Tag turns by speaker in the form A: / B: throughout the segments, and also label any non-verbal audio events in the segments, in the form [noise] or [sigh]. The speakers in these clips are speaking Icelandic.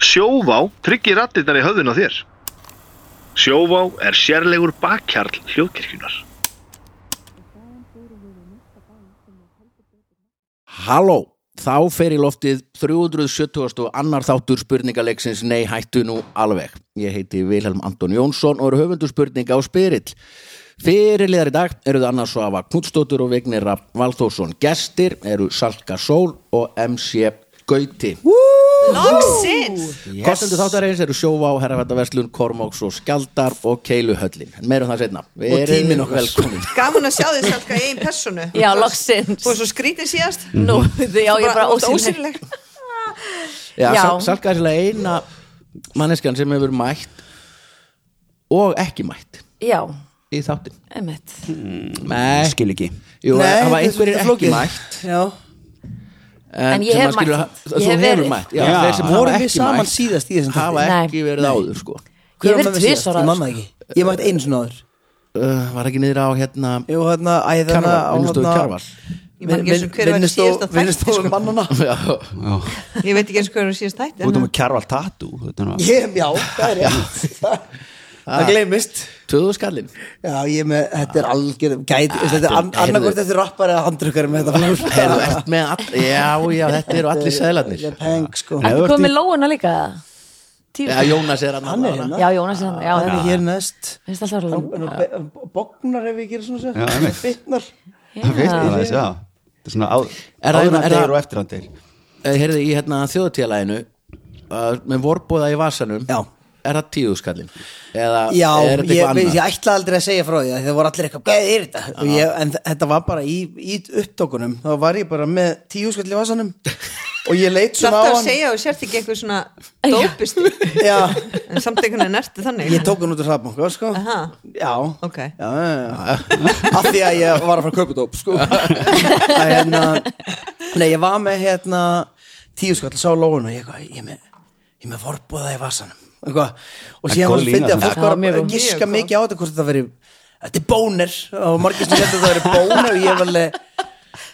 A: Sjóvá tryggir rattirnar í höfðun á þér. Sjóvá er sérlegur bakkjarl hljóðkirkjunar.
B: Halló, þá fer í loftið 370. og annar þáttur spurningaleiksins Nei, hættu nú alveg. Ég heiti Vilhelm Anton Jónsson og er höfundur spurninga á Spyrill. Fyrirliðar í dag eru það annars Svafa Knudstóttur og Vignir Rapp Valþórsson. Gestir eru Salka Sól og MC Gauti.
C: Loksins
B: Yes. Kostendur þáttarins eru sjóvá, herrafættaverslun, kormóks og skjaldar og keiluhöllin. En Meira um það setna. Og tímin okkar. Velkomin.
C: Gaman að sjá þig salka í einn personu
D: Já,
C: Þú-
D: loksins.
C: Þú er svo skrítin síðast
D: Nú, því já, ég er bara
C: þú ert
D: ósynleg
B: Já,
D: Já.
B: já. Salka er sérlega eina manneskjan sem hefur mætt og ekki mætt
D: Já,
B: í þáttin.
D: einmitt
B: Nei,
E: skil ekki
B: Jú, það
F: Nei,
B: var
F: þetta er
B: einhverjir
F: svolítið
B: ekki
F: flókið.
B: mætt
F: Já,
D: En ég
B: sem
D: hef
B: að skilur-
D: mætt.
B: Þú
D: Ég hef
B: hefur
D: verið.
B: mætt, já,
E: Já.
B: þeir sem
E: Vorum
B: hafa
E: við
B: ekki
E: saman
B: mætt
E: síðast í þessum
B: hafa
D: þætti?
B: ekki verið áður sko
D: Ég
F: hver var
D: verið
F: með mér síðast?
D: tvisvar
F: Ég
D: áður,
F: man það
D: sko.
F: ekki Ég mætti einu svona áður
B: uh, Var ekki niður á hérna
F: Jú, hérna, æ, þarna
B: Karval, vinnustofu Karval
C: Ég man ekki eins og hver var í síðasta þætti,
F: Vinnustofum mannana
B: Já,
C: Ég veit ekki eins og hver var síðast þætti
E: út
C: en-
E: um að kjarval tatu þetta er nú-
F: Ég, já, það er rétt Það- Það gleymist
B: tvöðu skallin
F: Já, ég er með, þetta er algjör Gæt, þetta er
B: heyrðu.
F: annarkvort Þetta er rappar eða handrukkar með þetta flór
B: Heyrðu, ert með all, Já, já, þetta eru allir sæðlarnir
F: Þetta er peng, sko
E: Nei.
F: Hann
E: þú
D: Ertu
E: ert
D: komið
E: í-
D: með lóuna líka? Tíu
B: Já, Jónas er hann
F: er hérna
D: Já, Jónas er hann, já,
F: Hann
D: já.
F: er hér næst
D: Finnst alltaf að
F: Hann- hann
D: lóna
F: be- hann Bognar ef ég gerir svona
E: Já, einmitt.
F: sér Bitnar
E: það veist það þess já þetta er svona á-
B: Er það-
E: áður
B: er
E: hann
B: það-
E: deyr og eftir hann deyr
B: Heyrðu, í hérna þjóðatíðalæginu uh, með vorbóða í vasanum
F: Já.
B: Er það tíðu skallin? Eða
F: Já,
B: er þetta
F: ég,
B: eitthvað
F: ég,
B: annað?
F: ég ætlaði aldrei að segja frá því af því það voru allir eitthvað, hvað er þetta? Og Ég, en þ- þetta var bara í, í upptókunum þá var ég bara með tíu skall í vasanum og ég leit
C: Þú
F: svona
C: ætti
F: á
C: að
F: hann
C: segja og sért ekki eitthvað svona dópist
F: Já,
C: En samt einhvern veginn ertu þannig
F: ég tók hann út úr hraðbanka sko.
C: Aha.
F: Já,
C: Ok.
F: já, já, já. [laughs] af því að ég var að fara að kaupa dóp sko. að, hérna, Nei, ég var með hérna, tíu skall sá lóun og ég, eitthvað, ég, með, ég með vorbúða í vasanum eitthvað.
E: Það
F: og
E: er
F: síðan
E: góð
F: var
E: lína
F: fyndið að
E: samt.
F: fólk var
D: Já, mjög
F: að
D: góð.
F: giska
C: Mjög góð.
F: mikið á þetta hvort þetta verið Þetta er bónir og margir sem heldur að það verið bónir og ég var alveg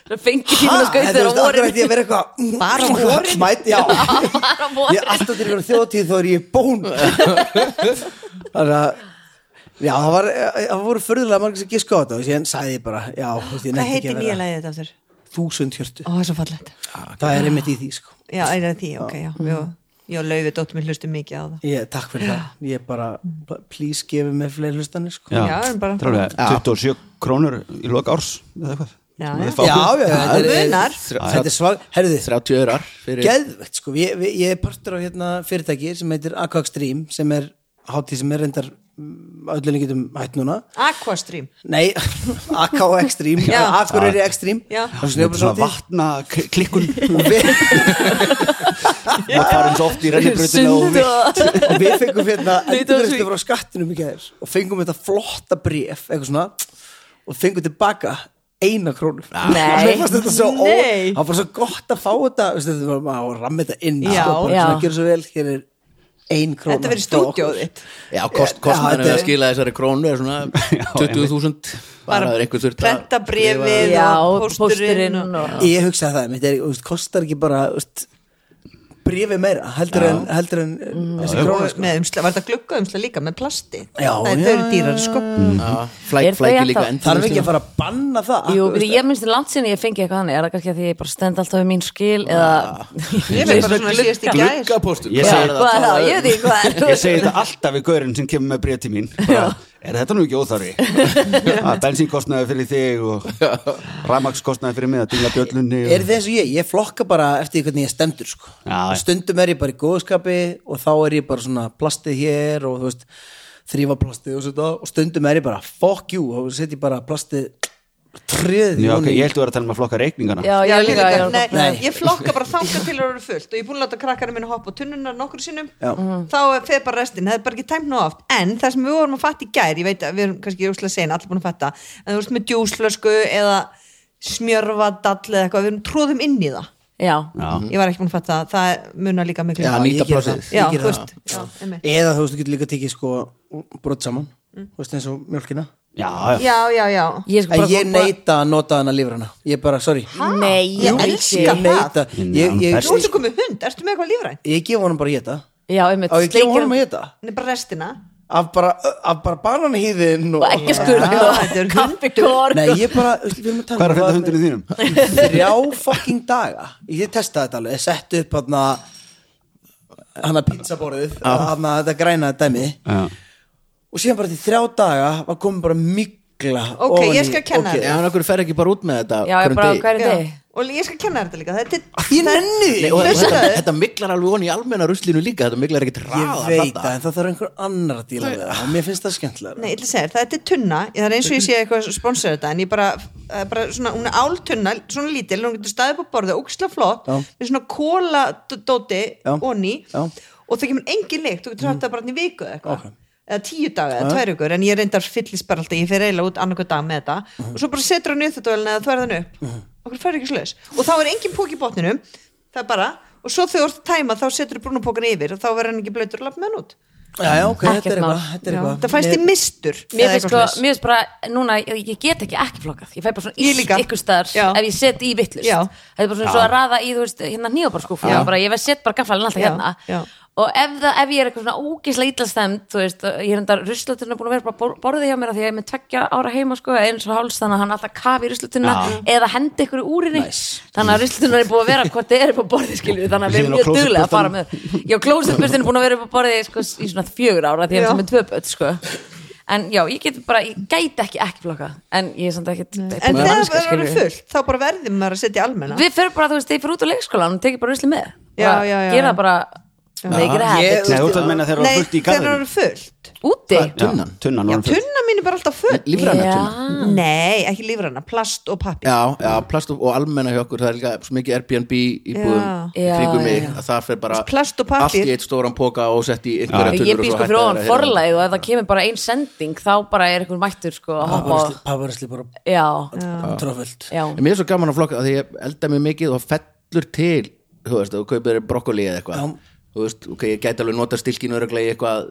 D: Það fengi
F: Ha,
D: tíminn að hérna
F: þetta
D: skautir á
F: veist, akkur ætti ég
D: vorin
F: að vera eitthvað
C: Bara á vorin?
F: Mæt, já
D: Bara á
F: [laughs] Ég er
D: vorin
F: alltaf til ykkur þjóðtíð þó er ég [laughs] bón Þannig að Já, það, var, það voru förðulega margir sem giska á þetta og síðan sagði ég bara já, þú veist, ég
C: Hvað
F: nefndi ekki
C: heitir
F: að
C: nýja
F: vera
C: lagið þetta aftur?
F: þúsund hjörtu
C: Ó, það er svo fallegt
F: Það er einmitt í því, sko
C: Já, er það því, ok, já
F: Mm.
C: Jó, Jó laufi dóttum við hlustum mikið á það
F: ég, Takk fyrir það, ég bara please gefi mér fleiri hlustanir, sko
C: Já, en bara-
E: Trúlega, 27 krónur í loka árs eða eitthvað
C: Já,
E: Sem
C: já.
E: þið fá.
F: já, þetta er-
C: munar.
F: Þetta er svag, herðu
B: 30 örar fyrir
F: geðvegt sko, ég, við- ég er partur á hérna fyrirtæki sem heitir Aqua Extreme sem er hátíð sem er reyndar mm, öllunni getum hætt núna
C: Aquastream
F: nei, [laughs] Aqua Extreme
C: Já.
F: Akureyri Extreme
C: Já.
F: Það er
E: Þetta er svona
F: snjóbrúðshátíð.
E: vatna k- klikkun
F: og við,
E: maður farum svo oft í rennibrutinu og
D: Sund
E: við
D: og
F: og við fengum hérna
D: Nei, þetta var svo-
F: endurreistu frá skattinum í gæðir og fengum þetta flotta bréf eitthvað svona og fengum tilbaka eina krónu
D: Nei.
F: Mér fannst þetta svo ó,
C: Nei.
F: það var svo gott að fá þetta veistu, þetta var maður að ramma þetta inn
C: Já.
F: sko, bara
D: Já.
F: svona, gera svo vel, hér er ein krónu
C: Þetta verið stúdjóðitt
B: Já, kost,
F: Já,
B: kostnæðan er
F: þetta er-
B: að skila þessari krónu er
F: [laughs]
B: svona 20.000 bara það er einhver þurft að
C: Prenta brefið
D: Já,
C: og
D: pósturinn
C: pósturinn og-
D: og
F: ég hugsaði það, mitt er, úst, kostar ekki bara úst, brífi meira heldur en, heldur en mm. þessi krónu
C: og með umsla, var þetta gluggaumsla líka með plasti
F: Já,
C: það er
F: já,
C: þau eru dýrar sko
B: Já, flæk,
D: Er þau
B: flæki
D: ennþá-
B: líka endur
F: þarf ekki að fara að banna það
D: Jú,
F: Veistu,
D: við ég minnst langt sinni ég fengi eitthvað þannig Er það kannski að því ég bara stend alltaf við mín skil Eða
C: ég veit bara svona síðast í gæðis
B: Gluggapostur
E: Ég
D: Já,
E: segi-
D: hvað er það? Ég veit ekki hvað er
E: Ég segi þetta alltaf við gaurinn sem kemur með bréf til mín bara, Er þetta nú ekki
C: [laughs]
E: óþarfi? Að Bensínkostnaði fyrir þig og ramakskostnaði fyrir mig að dingla bjöllunni og...
F: er þið eins og ég, ég flokka bara eftir því hvernig ég stendur sko.
E: Já, já.
F: stundum er ég bara í góðskapi og þá er ég bara svona plastið hér og þú veist, þrýfa plastið og, svona, og stundum er ég bara fuck you og setjum bara plastið tröð
E: Já, ok, ég held að vera að tala um að flokka reikningana
D: Já,
C: Já, ég,
D: ég líka
C: líka,
D: ég var-
C: nei,
F: Nei.
C: ég flokka bara þangar til það eru fullt og ég er búin að láta krakkana minna hoppa á tunnunar nokkur sinnum
F: Já.
C: þá feð bara restin, það er bara ekki tæmt ná oft en það sem við vorum að fatta í gær ég veit að við erum kannski úrslega sein, allir búin að fatta en þú veist með djúsflösku eða smjörvadall eða eitthvað, við erum tróðum inn í það
D: Já,
E: Já,
C: ég var ekki búin að fatta, það. það munar líka miklu
B: Já, nýta
F: ég geri það.
B: plássið.
C: Já,
F: Ég geri
C: þú
F: það.
C: veist, já, einmitt.
F: eða þú veist, þú getur líka tekið sko brot saman, þú veist eins og mjölkina
E: já, já.
C: já, já, já
D: ég sko
F: en
D: Mm. bara
F: ég neita að nota hana lífrana ég bara, sorry
D: Nei,
C: Ég
D: ég
C: elska
D: elska
F: ég neita,
E: Nei,
F: ég,
E: hann
F: ég,
E: berst.
C: Nú ertu komið hund, ertu með eitthvað lífræn?
F: ég gef honum bara í þetta
D: Já, einmitt um
F: Á ég gefum honum að
D: sleikjan-
F: hita
C: Nei, bara restina
F: Af bara, af bara bananhýðin
D: og ekki skurð
C: Já, þetta er
D: og kaffikorn
F: Nei, ég bara, veistu, við erum að tala
E: Hvað er að finna
F: um það-
E: hundinu þínum?
F: þrjá fucking daga ég testaði þetta alveg, setti upp hann hann að pizzaborðið hann að þetta græna dæmi
E: Já.
F: og síðan bara til þrjá daga var komið bara mikla
C: Ok, ég skal kenna
B: Já,
C: þér.
B: en okkur fer ekki bara út með þetta
D: Já, ég
B: hverjum
D: bara á
B: degi?
D: hverju
C: Já.
D: degi
C: Og ég skal kenna þér þetta líka Þetta er
F: Ég nenni því
B: Nei, og þetta,
F: Ég
C: Veistu
B: þetta,
C: það?
B: þetta miklar alveg von í almenna ruslinu líka þetta miklar ekkert ræða
F: veit það, en það þarf einhver annar að díla við það og mér finnst það skemmtilega
C: Nei, ég ætla að segja, þér, þetta er tunna það er eins og ég sé eitthvað að sponsora þetta en ég bara, það er bara svona, hún er áltunna svona lítil, hún getur staðið upp á borðið, ógislega flott
F: Já.
C: með svona kóladóti
F: Já.
C: onni
F: Já. Mm.
C: og það kemur engin lykt, þú getur haft það bara hérna í viku eða eitthvað eða tíu daga eða tvær ykkur, en ég reyndar fyllist bara alltaf, ég fer eiginlega út annarkoð dag með þetta
F: Mhm.
C: og svo bara setur hann í þetta eða þvær þann upp okkur fer ekki slös og þá er engin pók í botninum, það er bara og svo þegar þú ert að tæma þá setur þú brúnapókan yfir og þá verður hann ekki blöytur að lappa með hann út
F: Já, já, ok, þetta
D: Ekkert
F: er
D: mál.
F: eitthvað Ah, þetta er
D: Já.
F: eitthvað.
C: það fæst í
F: Mér-
C: mistur
D: Mér
C: eða
D: finnst
C: eitthvað
D: sko,
C: svoleiðis.
D: mér finnst bara, núna, ég, ég get ekki ekki flokkað Ég fæ bara svona
C: Ég
D: illt
C: líka.
D: ykkur staðar
C: Já.
D: ef ég set í vittlust
C: Já.
D: Það er bara svona svo að raða í, þú veist, hérna nýjóbarskúfa
C: Já.
D: bara, Ég verð set bara gaffalinn alltaf
C: Já,
D: hérna
C: já.
D: Og ef, það, ef ég er eitthvað svona ógislega ítlastemd, þú veist, og ég er enda ruslatunna búin að vera bara bor- borðið hjá mér af því að ég er með tveggja ára heima, sko, eða eins og háls, þannig að hann alltaf kafi í ruslatunna eða hendi ykkur í úrinni. Þannig að ruslatunna er búin að vera hvort þið er upp á borðið, skilju, þannig að við
E: Hliðin á
D: erum mjög duglega
E: klósettbustan.
D: að fara með. Já, klósetbustin er búin að vera upp á borðið, sko, í svona fjögur ára, því að
C: Já.
D: hann er með tvö börn, sko. En já, ég get bara, ég gæti ekki ekki flokka, en ég er samt ekki
C: En þegar það er orðið fullt, þá bara verðum maður að setja í almenna
D: Við fyrir bara, þú veist, ég fyrir út á leikskólan og tekið bara rusli með
C: Já,
D: Bara
C: já, já.
D: Gera bara, make it a
F: Ég-
D: habit
E: Nei, þú ert að menna þegar það
C: Nei,
E: var fullt í
C: þegar það
E: garðinu
C: eru fullt
D: Úti
E: Já,
B: Tunnan.
E: Tunnan
C: Já,
E: var fullt
C: tunna mín er bara alltaf full
B: lífræna
D: Já.
B: tunna
C: Ah. Nei, ekki lífrana, plast og pappi
B: Já, já, plast og, og almenna hjá okkur það er líka svo mikið Airbnb íbúðum
D: Já.
B: kringum
D: Já,
B: mig
D: já.
B: að það fer bara
C: Plast og
B: allt
C: pappír.
B: í eitt stóran póka og sett í einhverja
D: Ég býð sko fyrir ofan forlæð og ef það kemur bara ein sending þá bara er einhver mættur sko að hoppa á
F: Pappárusli- Pappárusli bara
D: Já,
F: tróföld
D: já
B: En mér er svo gaman að flokka af því ég elda mig mikið og fellur til þú veist, þú kaupir brokkoli eða eitthvað þú veist, ok, ég gæti alveg nota stilkinu öruglega í eitthvað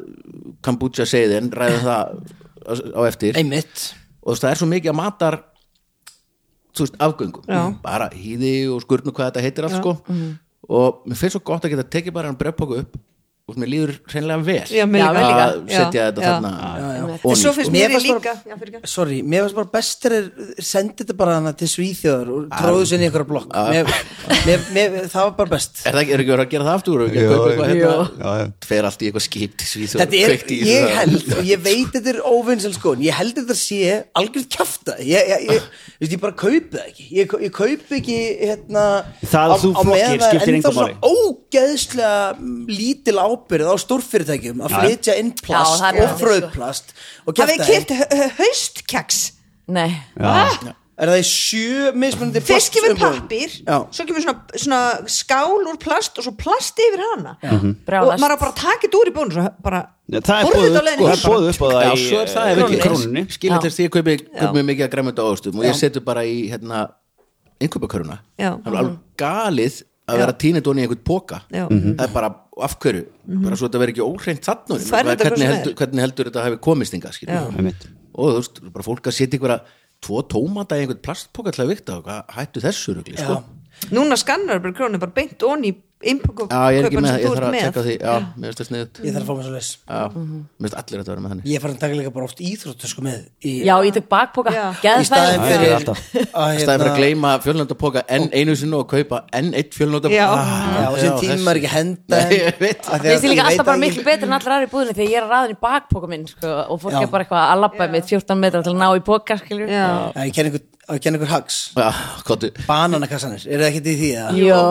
B: kombucha seiðin
C: [laughs]
B: ræðum það á- á eftir
F: Einmitt
B: og þú veist, það er svo mikið að matar þú veist, afgöngum
C: Já. Mhm.
B: bara hýði og skurnu hvað þetta heitir allt sko og mér finnst svo gott að geta tekið bara hann brefpoku upp og mér líður hreinlega vel
C: Já, mér líka.
B: að
C: Já, líka.
B: setja þetta
C: Já.
B: þarna
C: En
B: oní,
E: sko.
C: svo finnst
F: Mér
C: mér ég
F: fannst
C: líka
F: bara-
C: Já, fyrirgefðu.
F: Sorry, mér finnst bara bestir er sendið þetta bara hana til Svíþjóðar og tróðu sinni ykkur blokk mér, mér, mér, það var bara best
B: Er það ekki, er ekki verið að gera það aftur? Jú,
E: Jú,
B: eitthvað,
E: jú.
B: hérna,
E: Já, já.
B: Fer allt í eitthvað skip til svíð
F: Þetta er, ég held og ég veit þetta er óvinnsel sko en ég held þetta sé algjörð kjafta ég, ég, ég, ég, ég bara kaupi það ekki ég, ég kaupi ekki hérna
E: Það þú flokkir
F: meðan það er
E: skiptir
F: ennþá
E: engu máli.
F: svona ógeðslega lítil ábyrð á stórfyrirtækjum að
E: Já.
F: flytja inn plast
D: Já, það er
F: og
D: málið, sko.
F: fröðplast og
C: Hafið
F: kjafta
C: þið kert haustkeks
D: Nei,
E: Já.
F: er það í sjö mismunandi
C: Fyrst
E: um
C: kemur
F: plastsumbúðum?
C: pappir,
F: Já.
C: svo kemur svona, svona skál úr plast og svo plast yfir hana og
D: Brjálast.
C: maður á bara að taka þetta úr í bónu svo bara,
E: Mhm. Það er
C: borðið
E: bóðið
C: þetta á
E: upp
C: leiðinni
E: það
C: heim
E: er
C: bara.
E: boðið upp á það
B: Já,
E: í,
B: svo er það
E: eh,
B: ef ekki
E: krónunni
B: Skilir til
D: Já.
B: því að kaupi, kaupi mikið að græmönda ávöxtum og ég setu bara í hérna, innkaupakaruna
C: Já.
B: Það er alveg galið að vera tínit onni í einhvern póka
C: Já.
E: Mhm.
B: Það er bara af hverju bara svo þetta verður ekki óhreint þarna
C: Þú færð þetta
B: hvernig,
C: hvað sem
B: heldur,
C: er.
B: hvernig heldur þetta hafi komist inga
E: Einmitt.
B: og þú veist, bara fólk að setja einhverja tvo tómata í einhvern plastpóka til að vikta og hvað hættu þessu rugli sko?
C: Núna skannar bara krónu bara beint onni innpöku
B: Já, ég er ekki með, það, ég þarf að tekka því Já, mér finnst það sniðut
F: ég þarf að fá mér svo leys
B: Já,
C: Mhm.
B: mér finnst allir að vera með þannig
F: ég er farin að taka líka bara oft íþróttösku með í,
D: já, ég tök bakpoka
C: Já.
F: í staðin
D: Geðfæð
E: Já,
F: fyrir
E: já,
F: að
E: alltaf.
B: Það er bara að
F: hérna-
B: gleyma fjölnöndapóka enn einu sinni og kaupa enn eitt
C: Já.
B: fjölnöndapóka
F: Já, og sem tíma er ekki að henda
B: Nei, [laughs] ég veit.
D: Mér finnst ég líka alltaf bara miklu betur en allir aðri í búðinni þegar ég er að raðin í bakpoka minn sko, og fólk
F: Já.
D: er bara eitthvað að labba með 14 metra til að ná í poka, skilju
C: Já,
F: Já, ég kenn ykkur, ég kenn ykkur hags
B: Já, gott
F: Bananakassanir, eru það ekkert í því að
D: Jó,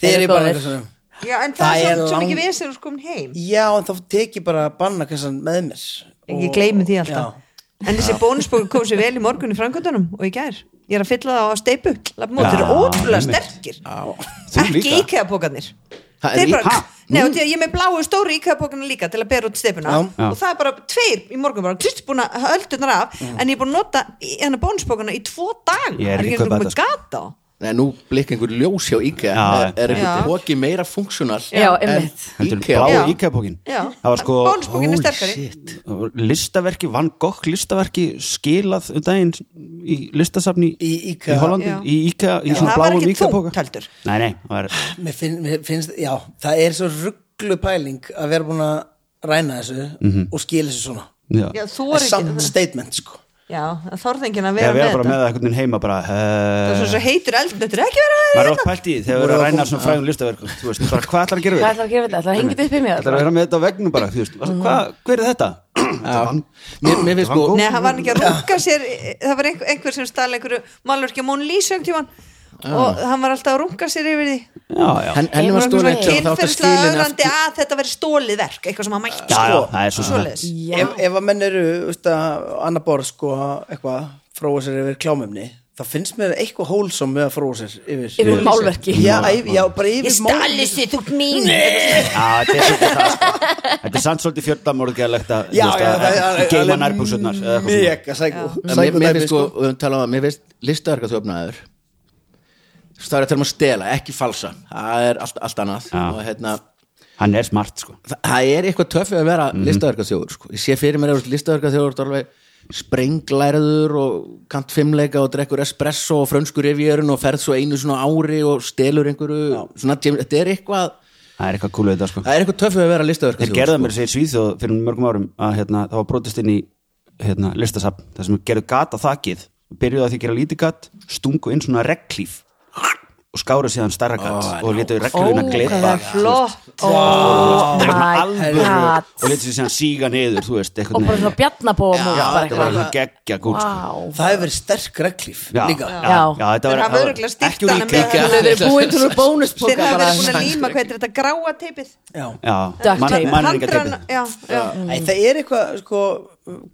F: Þeir eru bara
D: góðir.
F: eitthvað svona
C: Já, en
F: Það
C: það
F: er
C: er svo- svo
F: lang-
C: mikið vesir og skoðum heim
F: Já, en þá tek ég bara bananakassan með mér
C: Ég gleymi því alltaf
F: Já.
C: En þessi bónusbókur kom sér vel í morgun í framkvæmdunum og í gær Ég er að fylla það á steipu Lapmót
E: Já,
C: eru ótrúlega
E: einmitt.
C: sterkir
E: Þú
C: Ekki
E: líka.
C: íkæðapókarnir
B: Ha,
C: Þeir
B: er í-
C: bara,
B: Ha?
C: Nei, og því að ég er með bláu stóru íkæðapókarnir líka til að bera út steipuna
F: Já.
E: Já.
C: og það er bara tveir í morgun bara tust búin að höldunar af en ég er búin að nota í- hennar bónusbókana í tvo dag
E: Ég er ekki að kaupa þetta, sko.
C: gata á.
B: Nei, nú blikka einhver ljós hjá IKEA
E: Já,
B: er, er
C: já.
B: einhver póki meira funksjónal
D: Já,
B: en
D: einmitt.
E: Heldur
B: IKEA
C: Já.
E: blá íkæðbókin
C: Já.
E: Það var sko
C: Bónusbókin er
E: holy
C: sterkari.
E: shit. Listaverki, Van Gogh listaverki skilað um daginn í listasafni
F: Í IKEA.
E: í Hollandi
C: Já.
E: í IKEA, í svona
C: Það var
E: bláum
C: ekki
E: íkæðbóka
C: þungt heldur
E: Nei, nei, það var
F: Mér, finn, mér finnst, já, það er svo rugg rugglu pæling að vera búin að ræna þessu og skila þessu svona
E: Já.
C: já, þú
F: Það
C: er
F: er samt
C: ekki
F: statement sko
C: já, það þorði enginn að
E: Eða vera
C: vera
E: bara með
C: með þetta
E: það einhvern veginn heima bara
C: það er svo
E: eh,
C: svo heitur eldnöttur ekki vera hérna.
E: Maður er oft pælt í því þegar
F: Voru
E: verið að
F: að
E: ræna
F: koma-
E: svona frægum listaverkum Þú veist, bara hvað ætlar að gera við
D: Hvað
E: þetta?
D: ætlar að gera við þetta? Það hengið upp í mér
E: Ætlar að vera með þetta á vegnu bara, þú veist
C: Mm.
E: Hvað, hver er þetta? Þetta vann-
B: Mér, mér finnst
E: Van
B: sko
E: Gogh.
C: Nei, hann var ekki að rúka sér það var einhver, einhver sem stala einhverju málverki á Món Lísöng tíman og hann var alltaf að rúka sér yfir því
E: Já, já
B: henn- Henni var
D: Einhver
B: stóri
D: svona
B: eitt og þá átt að
C: kynferðslega
B: skilin
C: ögrandi
B: eftir
C: að þetta veri stólið verk eitthvað sem hann mætti
E: Já, já, það er svo sem
C: svoleiðis.
F: ef, ef að menn eru veist að, annar borð sko eitthvað fróa sér yfir klámefni þá finnst mér eitthvað hólsom með að fróa sér yfir,
D: Yfir málverki.
F: já, yfir, já, bara yfir
D: Ég stali
F: málverki.
D: sér, þú ert mín Nei,
E: Já, þetta er svolítið það sko. Þetta er samt svolítið fjöldamorgæðlegt að
F: já, já, það er alveg-
E: geima
F: alveg
E: nærbúsunar
F: mega sækó
B: En Mér, mér finnst sko, um, tala, um, mér finnst listaverka þjófnaður Það er að tala um að stela, ekki falsa Það er allt, allt annað
E: Já.
B: og hérna
E: Hann er smart sko
B: Þa- það er eitthvað töffið að vera mm sko. ég sé fyrir mér að listaverka þjóður alveg sprenglæriður og kant fimmleika og drekkur espresso og frönskur revjörun og ferð svo einu svona ári og stelur einhverju svona, James- þetta er eitthvað
E: Það er eitthvað kúlu þetta sko
B: það er eitthvað töffið að vera listaverka
E: Þeir gerða mér segir Svíþjóð fyrir mörgum árum að hérna, það var brotist inn í hérna, listasafn, þar sem gerðu gat á þakið byrjuðu að því að gera lítið gat stungu inn svona reglíf og skáru síðan starra gat og letuðu reglífuna
D: Ó,
E: glippa
D: hvað er flott Ó,
E: Það er svona
D: my
E: alvöru
D: god
E: og letuðu síðan síga niður þú veist,
D: Og
E: eitthvað
D: bara svona bjarnabóð
E: Já, þetta var svona geggja gúl sko.
D: Vá
F: það hefur verið sterk reglíf
E: já,
F: líka
E: já, já,
D: Já.
E: þetta var,
C: En hann
E: það var
C: örugglega stýrt
E: ekki úr
C: hana með
E: ítla
C: það.
D: Þau eru búin til úr bónuspoka
C: þeir hafa
D: bara.
C: verið búin að líma hvað heitir þetta gráa teipið
F: já.
E: Já,
D: Duct tape.
E: mannringatipið
C: Handrann- já, já.
F: Æ, það er eitthvað sko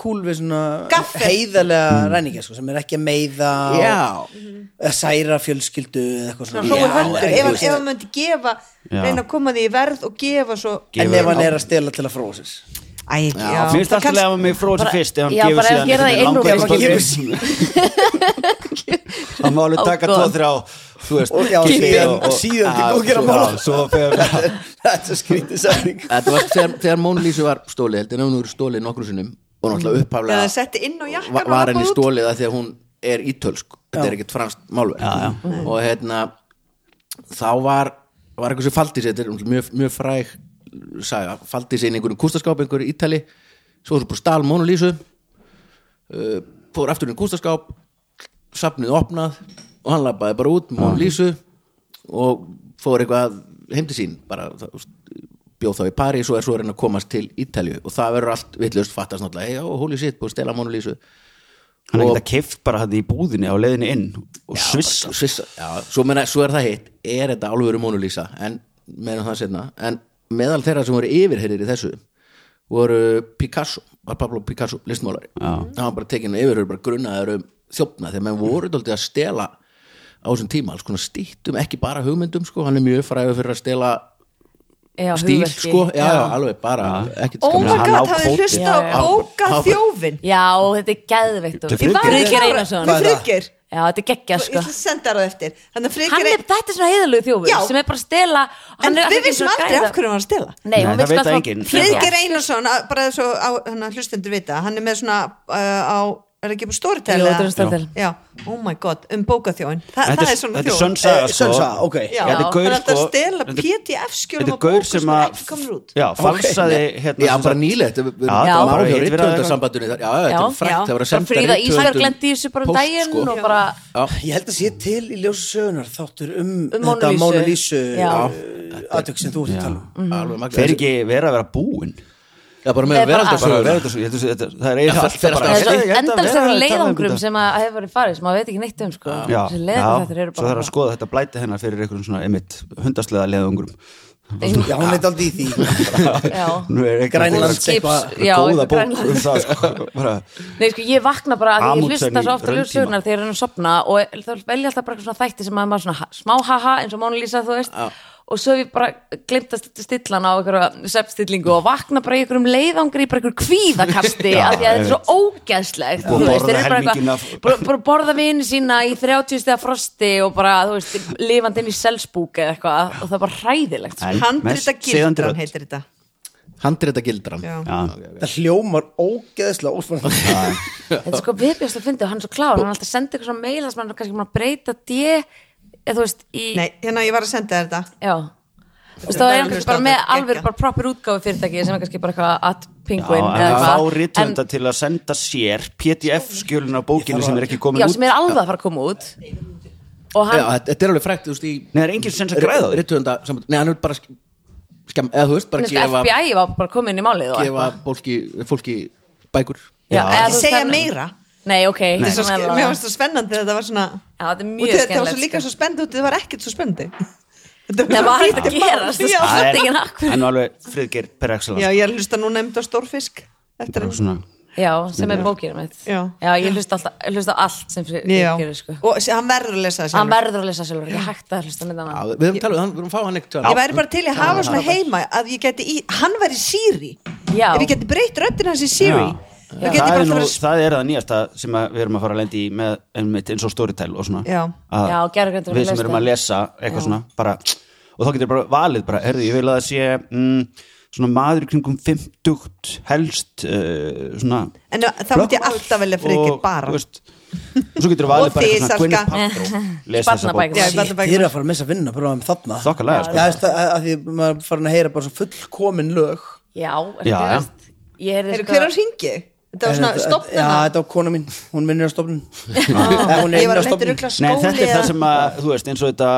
F: kúl við svona
C: Gaffel.
F: heiðalega mm. ræningar sko, sem er ekki að meiða og-
B: Já.
F: eða særa fjölskyldu eða eitthvað svona
C: hrói höndur
F: Já,
C: ef hann-
F: eitthvað
C: ef
F: svona.
C: hann myndi gefa
E: Já.
C: reyna að koma því í verð og gefa svo
E: Gefa-
F: en ef hann er að stela til að fróa sér
C: Æ, ekki, já.
E: Mér finnst
C: Það
E: alltaf að mig fróða
D: bara-
E: sem fyrst ef hann
D: Já,
E: gefur
D: bara ef
E: síðan
D: gera það í
E: einhvern
D: einrúmi. sko.
E: langan
F: Ef hann
E: Það má alveg
D: Ó,
E: taka
D: God.
E: tvo þrjá Þú veist,
F: Og já,
E: kippi
F: síðan-
E: og- og-
F: síðan til
E: Já,
F: góðgerða
E: svo-
F: mála.
E: já, Svo fer
F: [laughs] það er svo skrítið særing
B: þetta var þegar, þegar Mónu Lísu var stólið heldur en hún er stólið nokkru sinnum og náttúrulega
C: Þegar
B: upphaflega
C: það setti inn á jakkann
B: va- var
C: og labbaði
B: henni
C: út.
B: stólið að því að hún er ítölsk þetta er ekkert franskt málverk
E: Já, já.
B: og hérna þá var, var eitthvað sem faldi sér þetta er náttúrulega mjög, mjög fræg saga, faldi sér inn í einhverju kústaskáp einhverju ítali, svo var svo bara stál Mónu Lísu uh, fór aftur inn í kústaskáp safnið opnað og hann labbaði bara út Mónu Lísu og fór eitthvað heim til sín bara það- bjóð þá í París og er svo að reyna að komast til Ítalju og það verður allt vitlaust fattast náttúrulega, hei, já, holy shit, búið að stela Mónu Lísu
E: [laughs] Hann er
B: Og-
E: ekki að kift bara hann í búðinni á leiðinni inn og svissa
B: Svissa, já, svo, meina, svo er það hitt er þetta alvöru Mónu Lísa en meðan það setna, en meðal þeirra sem voru yfirherðir í þessu voru Picasso, var Pablo Picasso listmálari, það var bara tekinu yfirherður bara grunnaður um þjófna þegar menn voru dálítið að stela á þessum tíma alls konar stýttum, ekki bara hugmyndum sko, hann er mjög fræður fyrir að stela
D: Já,
B: stíl
D: hugverki.
B: sko, já, já, alveg bara ekkert
C: oh my
E: Hann á
C: god, hafið
E: kvótinn.
C: hlusta
D: Já,
C: á
D: já.
C: bóka þjófin
D: Já, þetta er geðveikt
E: Þetta er Friðgeir.
D: Friðgeir Einarsson
F: Hvað er það?
C: Friðgeir,
D: Já, þetta er geggja
C: ég
D: sko
C: ætla að senda það eftir Þannig að
D: Hann
C: Friðgeir
D: er, þetta er svona heiðalögu þjófur
C: Já.
D: sem er bara að stela hann
C: En
D: er- hann er
C: við
D: ekki
C: vissum
D: svona
C: aldrei
D: græða.
C: af hverju hann var að stela
D: Nei,
E: Nei, það
D: hún veist
E: veit
D: hvað
E: það
D: það-
E: enginn.
C: Friðgeir Einarsson, að- bara þess að hlustendur vita, hann er með svona uh, á, er ekki búið
D: Jú,
C: storytell
D: þetta er Storytel.
C: Já, oh my god, um bókaþjóin Þa,
E: Þetta er
C: Það er svona
E: þetta er
C: þjóð.
E: sönn saga,
F: Eh,
E: sko.
F: sönn saga, ok.
C: Já,
E: Þetta er gaur,
C: hann er alltaf
E: sko.
C: að stela
E: Þetta- Þetta er
C: PDF-skjölum á bóku
E: gaur
C: sem
E: sem
C: er
E: að
C: ekki komur út
E: Já, falsaði hérna,
B: Já,
E: sem
B: bara
E: sagt-
B: nýlegt, við við
E: Já, já,
B: erum að
E: bara
B: mála hjá
E: eitt verið að-
B: rithöfundasambandinu þar. Já, já, þetta
D: Já,
B: er frægt,
D: já.
B: það var að
D: Bara
B: senda
D: Fríða
B: rithöfundum
D: Ísberg lenti í þessu bara um
B: póst,
D: daginn
B: sko.
D: og bara-
B: Já,
F: ég held að sé til í ljósa sögunar þáttur um,
D: Um Mónu
F: þetta
D: Lísu.
F: Mónu Lísu
D: Já.
F: aðtök sem þú ert að tala um
B: alveg magnað.
E: Fer ekki verið að vera búinn
B: Já, bara með
D: Nei, Mm. bara
B: veraldasögur.
E: bara verið þetta svo, ég held að þetta- það er
B: Já,
E: eiginlega alltaf
B: fer alltaf
E: bara
B: að-
D: Það
E: Ég held að
D: er endalst
E: vera
D: þeirra
E: að tala um
D: leiðangrum
E: þetta.
D: sem að hefur verið farið sem að veit ekki neitt um sko
E: Já,
D: Þessi
E: já.
D: leiðangur þetta eru
E: svo þarf
D: bara
E: að skoða þetta blæti hennar fyrir einhverjum svona einmitt hundaslega leiðungrum
F: já, hún leit aldrei í því
E: [laughs]
D: Já.
E: Nú er ekki
F: Grænlands
E: góð-
F: eitthvað-
E: góða
D: Já,
E: góða
D: eitthvað
E: bók
D: Grænland.
E: um það sko, bara,
D: Nei, sko, ég vakna bara að ég
E: Amundsen
D: hlusta
E: í
D: svo ofta
E: rauntíma.
D: ljóðsögnar þegar ég er að sopna og þá velja alltaf bara eitthvað svona þætti sem að maður svona ha- smá haha eins og Mónu Lísa, þú veist og svo hef ég bara glemt að stilla stillan á einhverja svefnstillingu og vakna bara í einhverjum leiðangri, í bara einhverjum
E: [laughs]
D: kvíðakasti
E: Já,
D: af því að þetta er
E: einmitt.
D: svo ógeðslegt
E: Búið að
D: þú
E: borða
D: veist, þeir eru bara
E: helminginn
D: eitthvað-
E: af-
D: bara- bara borða vini sína í 30 stiga frosti og bara, þú veist, lifandi inn í selsbúk eða eitthvað og það er bara hræðilegt sko.
E: en mest
C: Handrita
E: seiðandi
C: gildran
E: rödd.
C: heitir þetta
B: Handrita gildran.
C: Já.
E: Já.
F: það hljómar ógeðslega óspennandi
D: Þetta er sko viðbjörst að fyndi og hann er svo klár, hann er alltaf sendið eitthvað svona mail þar sem hann er kannski búin að breyta D eða þú veist í,
C: Nei, hérna ég var að senda þér þetta
D: já Þú veist, þá er hann kannski bara með alveg bara proper útgáfi fyrirtæki sem er kannski bara eitthvað at penguin
E: Já,
D: eða
E: en
D: eitthvað.
E: fá rítönda
D: En-
E: til að senda sér pdf-skjölinu á bókinu sem er ekki komin
D: Já,
E: út
D: sem er alveg að fara að koma út og
B: Já,
D: hann,
B: þetta þetta er alveg frækt, þú veist, í
E: Nei, það er enginn sem sem græða á því.
B: Rittuðanda, nei, hann er bara sk- skemm, eða þú veist, bara
D: hann sko,
B: gefa,
D: FBI var bara komin inn í málið og
B: gefa fólki, fólki bækur
D: Já, eða þú
C: Ekki segja
D: veist,
C: meira
D: Nei, ok
C: Þetta
D: Nei.
C: er svo ske- Mér varst það spennandi að þetta var svona
D: Já, þetta er
C: og
D: mjög
C: þetta var svo
D: skemmtilegt
C: líka
D: sko.
C: svo spennandi út, þetta var ekkert svo spennandi
D: Það var
C: svo
D: ekkert
C: lítið
D: að
C: mál.
D: gerast, það
C: Já.
D: var-
E: Það
D: Enginn
E: er-
D: akkur.
E: en alveg friðgeir per
C: Já,
E: excellence
C: ég er að hlusta nú nefnd á stórfisk eftir
E: Bara
C: hann
E: svona,
D: Já, sem er bókinu mitt
C: Já.
D: ég hlusta alltaf, ég hlusta á allt sem fyrir
C: Já,
D: gerir sko
C: og s- hann verður að lesa það
D: Hann
C: sjálfur.
D: verður að lesa sjálfur, ég hægt að hlusta með
B: Já,
D: hann
B: við höfum talað, um hann- við höfum fá hann ekkert
C: Ég væri bara til í að hafa svona heima að ég geti í, hann væri Siri
D: Já.
C: ef ég geti breytt röddina hans í Siri þá
E: það
C: geti ég bara
E: er,
C: alltaf
E: nú,
C: verið
E: það er það nýjasta sem að við erum að fara að lendi í með, einmitt, eins og storytell og svona
C: Já.
E: Að
D: Já, gervigreindin
E: við
D: er
E: sem erum að lesa eitthvað svona bara, og þá getur bara valið bara, herðu, ég vil að það sé mm, svona maður í kringum 50 helst uh, svona
C: En þá myndi ég alltaf velja Friðgeir
E: og,
C: bara.
E: þú veist, og svo getur
C: Og
E: valið bara
C: þig,
E: eitthvað svona Gwyneth
C: Salka.
D: [laughs]
E: Paltrow lesa þessa bók.
D: Barnabækur.
C: Já,
F: Shit,
C: barnabækur.
F: Þið er að fara að missa vinna bara um þarna
E: Þokkalega, sko.
F: Já, þú veist, að, að- að því maður er farin að heyra bara svona fullkomin lög
D: Já,
E: Já,
D: þú
E: já.
D: veist Ég heyrði
C: Heyrðu,
D: sko-
C: hver á ringi? Þetta
E: Eh,
C: var svona
F: Þetta-
C: stopnuna
F: Já, þetta var kona mín, hún vinnur á stopnun [laughs] Eh, Hún er
C: Ég var að
F: inn á
C: leta
F: stopnun
C: rugla
E: Nei,
C: skóli
E: þetta er
C: eða-
E: það sem að, þú veist, eins og þetta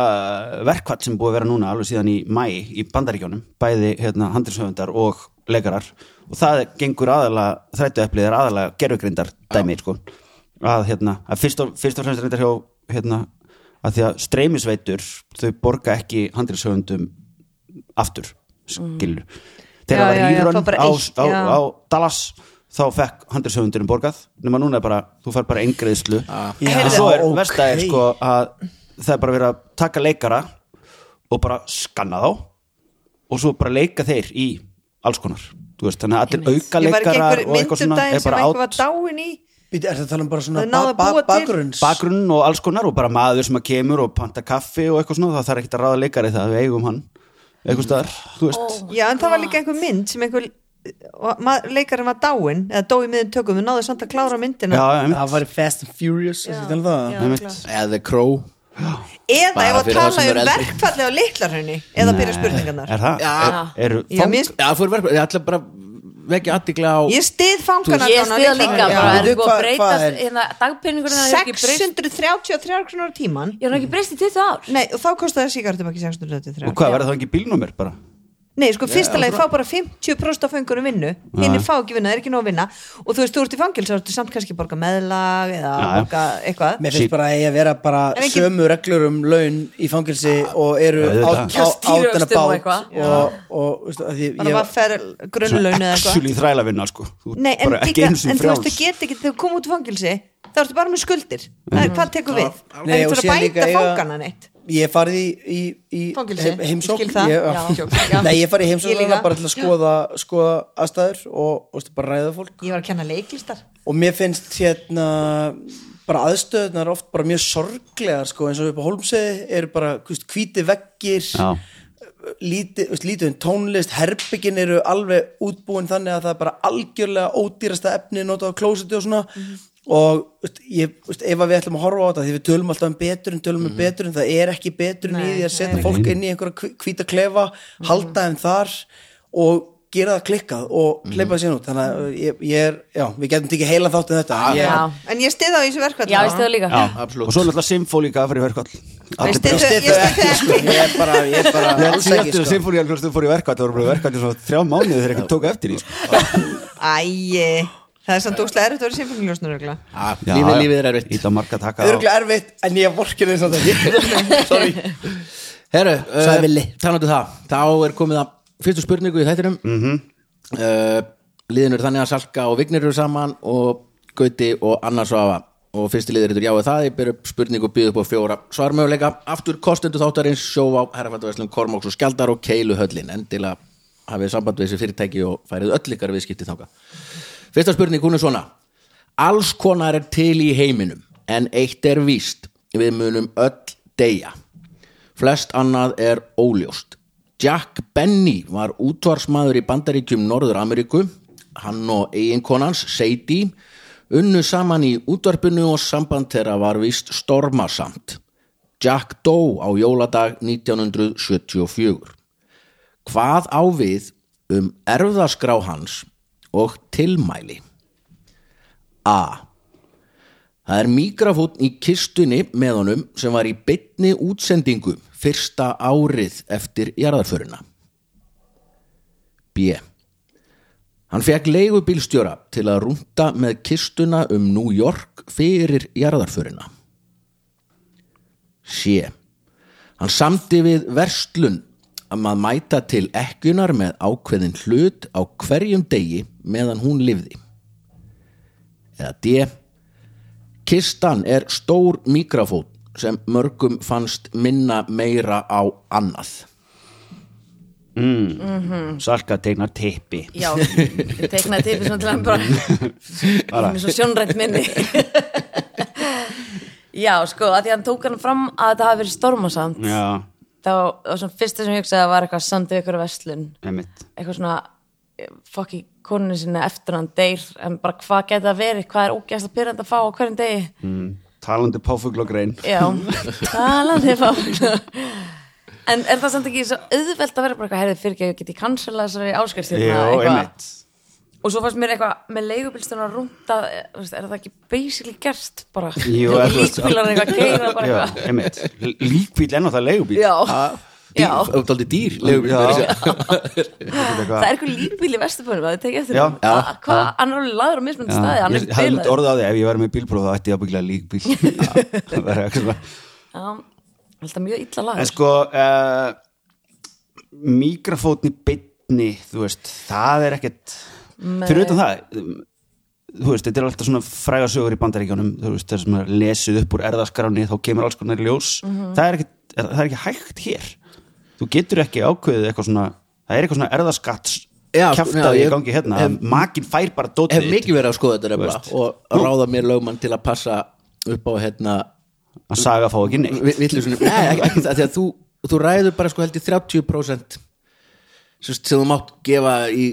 E: verkvall sem búið að vera núna alveg síðan í mæ í bandaríkjónum, bæði hérna, handilshöfundar og leikarar og það gengur aðalega, þrættu eplið er aðalega gerfugrindar dæmi, sko að, hérna, að fyrst og, fyrst og fremst reyndar hjá hérna, að því að streymisveitur þau borga ekki handilshöfundum aftur, skilur
C: Mm. Já,
E: þegar það var
C: já, já,
E: rýrun
C: það var bara
E: á,
C: eitt,
E: á,
C: já.
E: á Dallas þá fekk handilshöfundurinn borgað nema núna er bara, þú fær bara eingreiðslu
C: Ah.
F: Já,
E: en svo er
F: ókei.
E: okay. verstaðið sko að það er bara verið að taka leikara og bara skanna þá og svo bara leika þeir í alls konar, þú veist, þannig að allir auka
C: Ég var ekki
E: leikara og
C: einhver
E: eitthvað
C: myndum
E: svona
C: daginn
E: er
C: sem
E: bara
C: einhver var
E: átt
C: dáin í
F: Býtu, er þetta að tala um bara
C: Þau náðu
F: svona
C: að
F: ba
C: búa
F: ba
C: til-
F: bakgrunns
E: bakgrunn og alls konar og bara maður sem að kemur og panta kaffi og eitthvað svona, það þarf ekki að ráða leikari í það við eigum hann, eitthvað staðar þú
D: Oh
E: veist,
C: Já, en það var líka einhver mynd sem einhver og ma- leikarinn var dáin eða dó í miðin tökum, við náðum samt að klára myndina
E: já, einmitt,
F: Það var í Fast and Furious þessi tala um það.
C: já.
E: einmitt
B: Eða The Crow
C: eða
B: Bara
C: ef að
B: fyrir þá
C: tala
B: sem eru
C: um
B: eldri.
C: verkfallið á litlarhraunni eða byrja spurningarnar
E: er það, er,
B: Já.
E: eru
C: Já, mér
E: fang
C: finnst-
B: Já, það fór verður, ég ætla bara vekja aðtikla á
C: ég stið fangarnar
D: Ég stiða líka
F: Já.
D: bara, er
F: Veitu
D: búið að
F: hvað- hvað er-
D: breytast hérna, dagpeningurinn er ekki breyst
C: 633 krónur á tíman
D: Ég er ekki breyst í 20 ár
C: Nei, og þá kostaði síkartum ekki 633
E: og hvað, verður það ekki bílnúmer bara
C: Nei, sko, fyrsta lagi fá bara 50% af fengurum vinnu hinn er fá ekki vinna, það er ekki nóg að vinna og þú veist, þú ert í fangils, þá ertu samt kannski að borga meðlag eða
E: Já, já.
C: borga eitthvað
F: Mér finnst bara að ég að vera bara
C: En engin-
F: sömu reglur um laun í fangilsi og eru
E: Ah, Auðvitað.
F: out
D: Já, stýrivöxtum
F: and
D: og
F: about
D: eitthvað.
F: og, og veistu, að því
C: bara
F: ég-
C: var fer grunnlaun eða eitthvað
E: actually þræla vinna sko Þú ert
C: Nei, en,
E: bara ekki
C: líka,
E: einu sinni
C: en þú veist, þú
E: frjáls.
C: get ekki þegar þú kom út í fangilsi, þá ertu bara með skuldir það er hvað tekur við, það
F: Nei,
C: er
F: og
C: eitthvað
F: síðan
C: að
F: líka
C: bæta
F: eiga-
C: fangana neitt
F: Ég hef farið í, í, í
C: Fangelsi,
F: heim- heimsókn
C: ég skil það.
F: ég,
C: Já, tjók, já.
F: Nei, ég hef farið í heimsókn
C: Ég líka.
F: þarna bara til að skoða, skoða aðstæður og, og stu, bara ræða fólk
C: Ég var að kenna leiklistar
F: og mér finnst hérna bara aðstöðunar oft bara mjög sorglegar sko, eins og upp á Holmseði eru bara hvist, hvíti veggir
E: Já.
F: lítið veist, lítið um tónlist herbyggin eru alveg útbúin þannig að það er bara algjörlega ódýrasta efni notað á klósiti og svona og veist, ég, veist, ef að við ætlum að horfa á þetta því við tölum alltaf um betrun, tölum um betrun það er ekki betrun í því að setja fólk inn í einhverja hví- hvíta klefa, halda þeim þar og gera það klikkað og kleipa það síðan út þannig að ég, ég er, já, við getum tekið heila þátt um þetta ég,
D: Já,
C: En ég stið á í þessu verkvæð
D: já ég stiða líka
E: Já,
B: Absolutt.
E: og svo er náttúrulega symfólíka að fara í verkvall
C: Ég
E: Allir
C: styð
E: bara-
C: þau- ég styð
F: Ég styð þau ekki
C: þau
F: sko Ég er bara, ég er bara
E: Ég held
F: alls ekki
E: síðastu
F: sko
E: symfólíalkljóðstu fór í verkvall það voru bara verkvall í svona þrjá mánuði þegar eitthvað tók eftir því sko.
C: Æi, það er samt óslega erfitt að vera symfóniljósnur
B: Já, Lífið,
E: Já,
B: lífið er erfitt
E: Íta marga taka á
F: Örgulega erfitt, en ég vorkir þess að það Sorry
B: Herru,
F: Sagði Villi.
B: talandu það Þá er komið að fyrstu spurningu í þættinum mm
F: Mhm.
B: -hmm. Liðin eru þannig að Salka og Vignir eru saman og Gauti og Anna Svafa og fyrsti liður yfir jáið það, ég ber upp spurningu og býð upp á fjóra svarmöguleika aftur kostendu þáttarins, sjóf á herrafættaverslun Kormáks og Skjaldar og Keilu höllin endilega hafið samband við þessi fyrirtæki og færið öll ykkar viðskipti þáka Fyrsta spurning, hún er svona Alls konar er til í heiminum en eitt er víst við munum öll deyja Flest annað er óljóst. Jack Benny var útvarsmaður í bandaríkjum Norður Ameríku. Hann og eiginkonans, Sadie, unnu saman í útvarpinu og samband þeirra var víst stormasamt. Jack dó á jóladag 1974. hvað á við um erfðaskrá hans og tilmæli A Það er mikrafónn í kistunni með honum sem var í beinni útsendingu fyrsta árið eftir jarðarföruna B Hann fekk leigubílstjóra til að rúnta með kistuna um New York fyrir jarðarföruna C. Hann samti við verslun um að mæta til ekkunar með ákveðin hlut á hverjum degi meðan hún lifði. Eða D. Kistan er stór mikrafón sem mörgum fannst minna meira á annað.
E: Salka tegnar Mm. teppi
D: Já, ég teiknaði tippi svona til hann bara, bara. með svo sjónrænt minni Já, sko, að því hann tók hann fram að þetta hafi verið stormasamt
E: Já,
D: þá, og svona fyrsta sem ég hugsaði var eitthvað samt við ykkur verslun
E: einmitt
D: eitthvað svona fokki koninu sinni eftir hann deyr en bara hvað geta það verið, hvað er ógæst að pyrrandi að fá á hverjum degi
E: Mm. Talandi um páfugl og grein
D: Já, talandi fáfuglar En er það samt ekki svo auðvelt að vera bara eitthvað herðið fyrir ekki að ég geti cancela þessari áskrift hérna,
E: Jó,
D: eitthvað?
E: einmitt
D: og svo fannst mér eitthvað með leigubílstjóna rúnda, er það ekki basically gert bara,
E: Jú, eða þú veist-
D: líkbílar eitthvað geira bara
E: Já,
D: eitthvað
E: einmitt Líkbíl enn og það leigubíl
D: já, já,
B: Það er aldrei dýr, leigubíl.
E: Já.
B: meira að segja.
D: það er eitthvað líkbíl í vesturbunum að þið tekja eftir
E: Já.
D: honum. Hva- hvað, hann er alveg laður á mismunandi staði hann er
E: Ég hafði myndi
D: bilaður
E: orðið á því ef ég væri með bílpróf þá ætti ég að byggja líkbíl
D: [laughs]
E: Það væri eitthvað svona.
D: Já, alltaf mjög illa
E: En
D: lagur
E: sko uh, Mikrafótni beinni Þú veist, það er ekkert
D: Nei.
E: Fyrir utan það um, Þú veist, þetta er alltaf svona fræga sögur í bandaríkjónum Þú veist, það sem er lesið upp úr erðaskráni Þá kemur alls konar í ljós það, er ekkert, er, það er ekki hægt hér Þú getur ekki ákveðið eitthvað svona Það er eitthvað svona erðaskatts
B: Já, já,
E: Kjaftaði í
B: ég-
E: gangi hérna
B: hef-
E: Makin fær bara dótið
B: hef mikið verið að skoða þetta
E: Veist.
B: nefnilega og ráða mér lögmann til að passa upp á hérna
E: Að saga fá ekki neitt
B: vittlisunum, nei, ekki, ekki það því að þú, þú ræður bara sko held í 30% sem, sem þú mátt gefa í